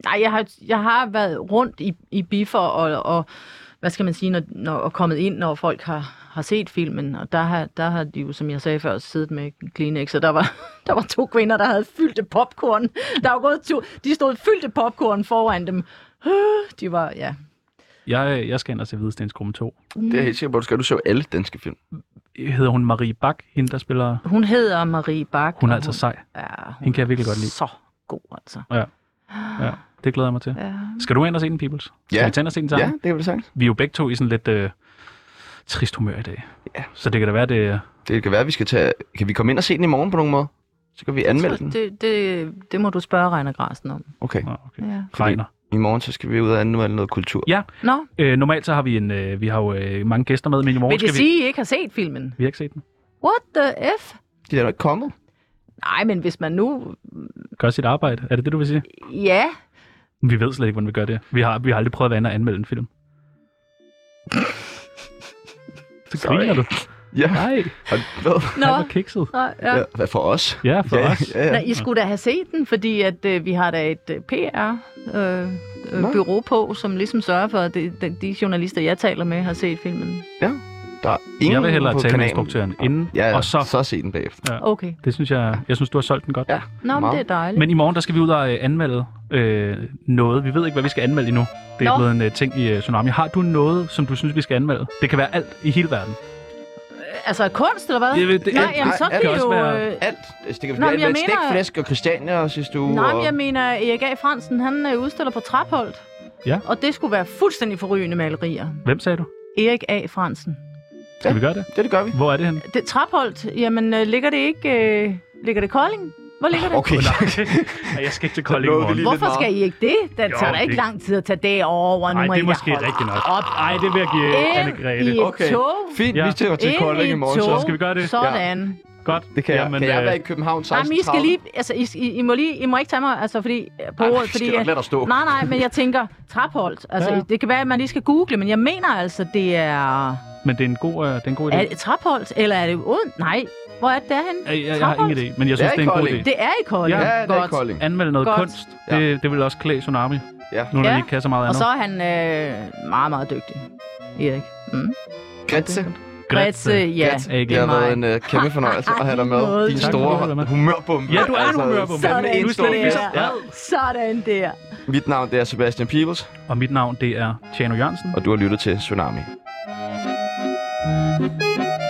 [SPEAKER 4] nej, jeg har, jeg har været rundt i, i biffer og, og, hvad skal man sige, når, når, og kommet ind, når folk har, har set filmen. Og der har, der har de jo, som jeg sagde før, siddet med Kleenex, og der var, *laughs* der var to kvinder, der havde fyldte popcorn. Der var gået to, de stod fyldte popcorn foran dem. *gasps* De var, ja.
[SPEAKER 2] Jeg, øh, jeg skal ind og se Hvidestensgruppen 2.
[SPEAKER 4] Mm.
[SPEAKER 1] Det er jeg helt sikker på, du skal. Du ser jo alle danske film.
[SPEAKER 2] Hedder hun Marie Bak, hende der spiller...
[SPEAKER 4] Hun hedder Marie Bak.
[SPEAKER 2] Hun er
[SPEAKER 4] og
[SPEAKER 2] altså sej.
[SPEAKER 4] ja, hun
[SPEAKER 2] Hende kan jeg virkelig
[SPEAKER 4] er
[SPEAKER 2] godt lide.
[SPEAKER 4] Så god, altså.
[SPEAKER 2] Ja, det glæder jeg mig til.
[SPEAKER 4] Ja.
[SPEAKER 2] Skal du ind og se den, Peoples? Skal
[SPEAKER 1] Ja.
[SPEAKER 2] vi tænde og se den
[SPEAKER 1] Ja,
[SPEAKER 2] sammen?
[SPEAKER 1] det kan vi sagtens.
[SPEAKER 2] Vi er jo begge to i sådan lidt øh, trist humør i dag.
[SPEAKER 1] Ja.
[SPEAKER 2] Så det kan da være, det er...
[SPEAKER 1] Det kan være, at vi skal tage... Kan vi komme ind og se den i morgen på nogen måde? Så kan vi anmelde den.
[SPEAKER 4] det, det, det må du spørge Reiner Grasen om.
[SPEAKER 1] Okay.
[SPEAKER 2] Nå, okay.
[SPEAKER 4] Ja.
[SPEAKER 2] Regner.
[SPEAKER 1] I morgen så skal vi ud og anmelde noget kultur.
[SPEAKER 2] Ja,
[SPEAKER 4] Nå,
[SPEAKER 2] øh, normalt så har vi en, øh, vi har jo øh, mange gæster med, men i morgen
[SPEAKER 4] Vil det
[SPEAKER 2] skal vi...
[SPEAKER 4] sige, I ikke har set filmen?
[SPEAKER 2] Vi har ikke set den.
[SPEAKER 4] What the F?
[SPEAKER 1] De er nok ikke kommet.
[SPEAKER 4] Nej, men hvis man nu...
[SPEAKER 2] Gør sit arbejde. Er det det, du vil sige?
[SPEAKER 4] Ja,
[SPEAKER 2] Vi ved slet ikke, hvordan vi gør det. Vi har, vi har aldrig prøvet at være inde og anmelde en film. Så
[SPEAKER 1] Sorry.
[SPEAKER 2] griner du.
[SPEAKER 1] Ja.
[SPEAKER 2] Nej,
[SPEAKER 1] Og hvad?
[SPEAKER 4] nå.
[SPEAKER 2] han var kikset.
[SPEAKER 4] Nå, ja.
[SPEAKER 1] Ja, hvad for os?
[SPEAKER 2] Ja, for
[SPEAKER 1] ja,
[SPEAKER 2] os.
[SPEAKER 1] Ja, ja.
[SPEAKER 4] Nå, I skulle da have set den, fordi at, øh, vi har da et øh,
[SPEAKER 1] Nå.
[SPEAKER 4] PR-byrå på, som ligesom sørger for, at det, de, de journalister, jeg taler med, har set filmen.
[SPEAKER 1] Der er ingen
[SPEAKER 2] Jeg vil hellere
[SPEAKER 1] på
[SPEAKER 2] tale med
[SPEAKER 1] kanalen.
[SPEAKER 2] instruktøren inden,
[SPEAKER 1] Ja, ja.
[SPEAKER 2] og så...
[SPEAKER 1] så se den bagefter.
[SPEAKER 4] Okay.
[SPEAKER 2] Det synes jeg, jeg synes, du har solgt den godt.
[SPEAKER 1] Ja.
[SPEAKER 4] Nå, men
[SPEAKER 1] Meget.
[SPEAKER 4] det er dejligt.
[SPEAKER 2] Men i morgen, der skal vi ud og øh, anmelde øh, noget. Vi ved ikke, hvad vi skal anmelde endnu. Det er
[SPEAKER 4] Nå.
[SPEAKER 2] blevet en øh, ting i øh, Tsunami. Har du noget, som du synes, vi skal anmelde? Det kan være alt i hele verden.
[SPEAKER 4] Altså kunst, eller hvad?
[SPEAKER 2] Jeg ved det-
[SPEAKER 4] nej,
[SPEAKER 2] alt-
[SPEAKER 4] jamen, så
[SPEAKER 1] alt-
[SPEAKER 4] kan
[SPEAKER 2] alt-
[SPEAKER 4] jo...
[SPEAKER 2] også
[SPEAKER 4] Øh,
[SPEAKER 1] Alt. altså, Det skal vi
[SPEAKER 4] Nå, men jeg
[SPEAKER 1] anmelde
[SPEAKER 4] mener-
[SPEAKER 1] stikflæsk og Christiania og sidste uge.
[SPEAKER 4] øh, nej, men
[SPEAKER 1] og...
[SPEAKER 4] jeg mener, Erik A. Fransen, han øh, udstiller på Trapholdt.
[SPEAKER 2] Ja.
[SPEAKER 4] Og det skulle være fuldstændig forrygende malerier.
[SPEAKER 2] Hvem sagde du?
[SPEAKER 4] Erik A. Fransen.
[SPEAKER 2] Skal
[SPEAKER 1] Ja.
[SPEAKER 2] vi gøre det?
[SPEAKER 1] Det, det gør vi.
[SPEAKER 2] Hvor er det henne?
[SPEAKER 4] Det, Trapholdt, jamen øh, ligger det ikke... Øh, ligger det Kolding? Hvor ligger det?
[SPEAKER 1] Okay.
[SPEAKER 2] *laughs* Nej, jeg skal ikke til Kolding i
[SPEAKER 1] nåede vi
[SPEAKER 2] morgen.
[SPEAKER 1] lige-
[SPEAKER 4] Hvorfor
[SPEAKER 1] lidt
[SPEAKER 4] skal I ikke det? Det
[SPEAKER 2] Jo,
[SPEAKER 4] tager da ikke
[SPEAKER 2] det-
[SPEAKER 4] lang tid at tage det over.
[SPEAKER 2] Nej,
[SPEAKER 4] nu må
[SPEAKER 2] det er
[SPEAKER 4] I da
[SPEAKER 2] måske
[SPEAKER 4] holde
[SPEAKER 2] rigtigt nok.
[SPEAKER 4] Op.
[SPEAKER 2] Nej, det vil jeg give øh, Anne-Grete.
[SPEAKER 4] Ind i et
[SPEAKER 1] Okay.
[SPEAKER 4] tog.
[SPEAKER 1] *laughs* Fint,
[SPEAKER 2] Ja.
[SPEAKER 1] vi tager til
[SPEAKER 4] Ind
[SPEAKER 1] Kolding
[SPEAKER 4] i
[SPEAKER 1] i
[SPEAKER 4] et
[SPEAKER 1] morgen.
[SPEAKER 4] tog.
[SPEAKER 1] Så.
[SPEAKER 2] Skal vi gøre det?
[SPEAKER 4] Sådan.
[SPEAKER 2] Godt.
[SPEAKER 1] Det kan,
[SPEAKER 2] Jamen,
[SPEAKER 1] jeg. kan jeg
[SPEAKER 2] øh,
[SPEAKER 1] være i København 16.30?
[SPEAKER 4] Jamen, I skal lige... Altså, I, I, I, må lige... I må ikke tage mig altså, fordi, på
[SPEAKER 1] Ej,
[SPEAKER 4] ordet,
[SPEAKER 1] fordi...
[SPEAKER 4] fordi...
[SPEAKER 1] Skal jeg lade dig stå?
[SPEAKER 4] Nej, nej, men jeg tænker, Trapholdt. Altså,
[SPEAKER 2] Ja,
[SPEAKER 4] ja,
[SPEAKER 2] ja.
[SPEAKER 4] det kan være, at man lige skal google, men jeg mener altså, det er...
[SPEAKER 2] Men det er en god, øh, det er en god idé.
[SPEAKER 4] Er det Trapholdt, eller er det Oden? Nej, hvor er det derhenne?
[SPEAKER 2] Jeg, jeg, jeg har ingen idé, men jeg synes,
[SPEAKER 1] er
[SPEAKER 2] det er en
[SPEAKER 1] i
[SPEAKER 2] god
[SPEAKER 1] Kolding.
[SPEAKER 2] idé.
[SPEAKER 4] Det er i Kolding.
[SPEAKER 1] Ja, det er i
[SPEAKER 4] Godt.
[SPEAKER 1] Kolding.
[SPEAKER 2] Anmelde noget
[SPEAKER 4] Godt.
[SPEAKER 2] kunst, det, det vil også klæde Tsunami.
[SPEAKER 1] Ja.
[SPEAKER 2] Nu når
[SPEAKER 4] Ja.
[SPEAKER 2] vi ikke kan så meget
[SPEAKER 4] Og
[SPEAKER 2] andet.
[SPEAKER 4] så er han øh, meget, meget dygtig, Erik. Mm.
[SPEAKER 1] Grætse.
[SPEAKER 2] øh,
[SPEAKER 4] Grætse, ja.
[SPEAKER 1] Grætse.
[SPEAKER 2] AG.
[SPEAKER 1] Det har
[SPEAKER 4] mig.
[SPEAKER 1] været en uh,
[SPEAKER 4] *laughs*
[SPEAKER 1] kæmpe fornøjelse at have dig med.
[SPEAKER 4] måde.
[SPEAKER 1] Din
[SPEAKER 2] Tak,
[SPEAKER 1] store
[SPEAKER 2] fordi du var med.
[SPEAKER 1] humørbombe.
[SPEAKER 2] Ja, du er en
[SPEAKER 1] altså,
[SPEAKER 2] humørbombe.
[SPEAKER 1] fandme
[SPEAKER 4] Sådan
[SPEAKER 1] en
[SPEAKER 2] Du er
[SPEAKER 1] stor
[SPEAKER 2] slet ikke
[SPEAKER 1] fest.
[SPEAKER 2] så
[SPEAKER 1] Ja.
[SPEAKER 2] vred.
[SPEAKER 4] Sådan der.
[SPEAKER 1] Mit navn det er Sebastian Peebles,
[SPEAKER 2] Og mit navn, det er Tjano Jørgensen.
[SPEAKER 1] og du har lyttet til Tsunami.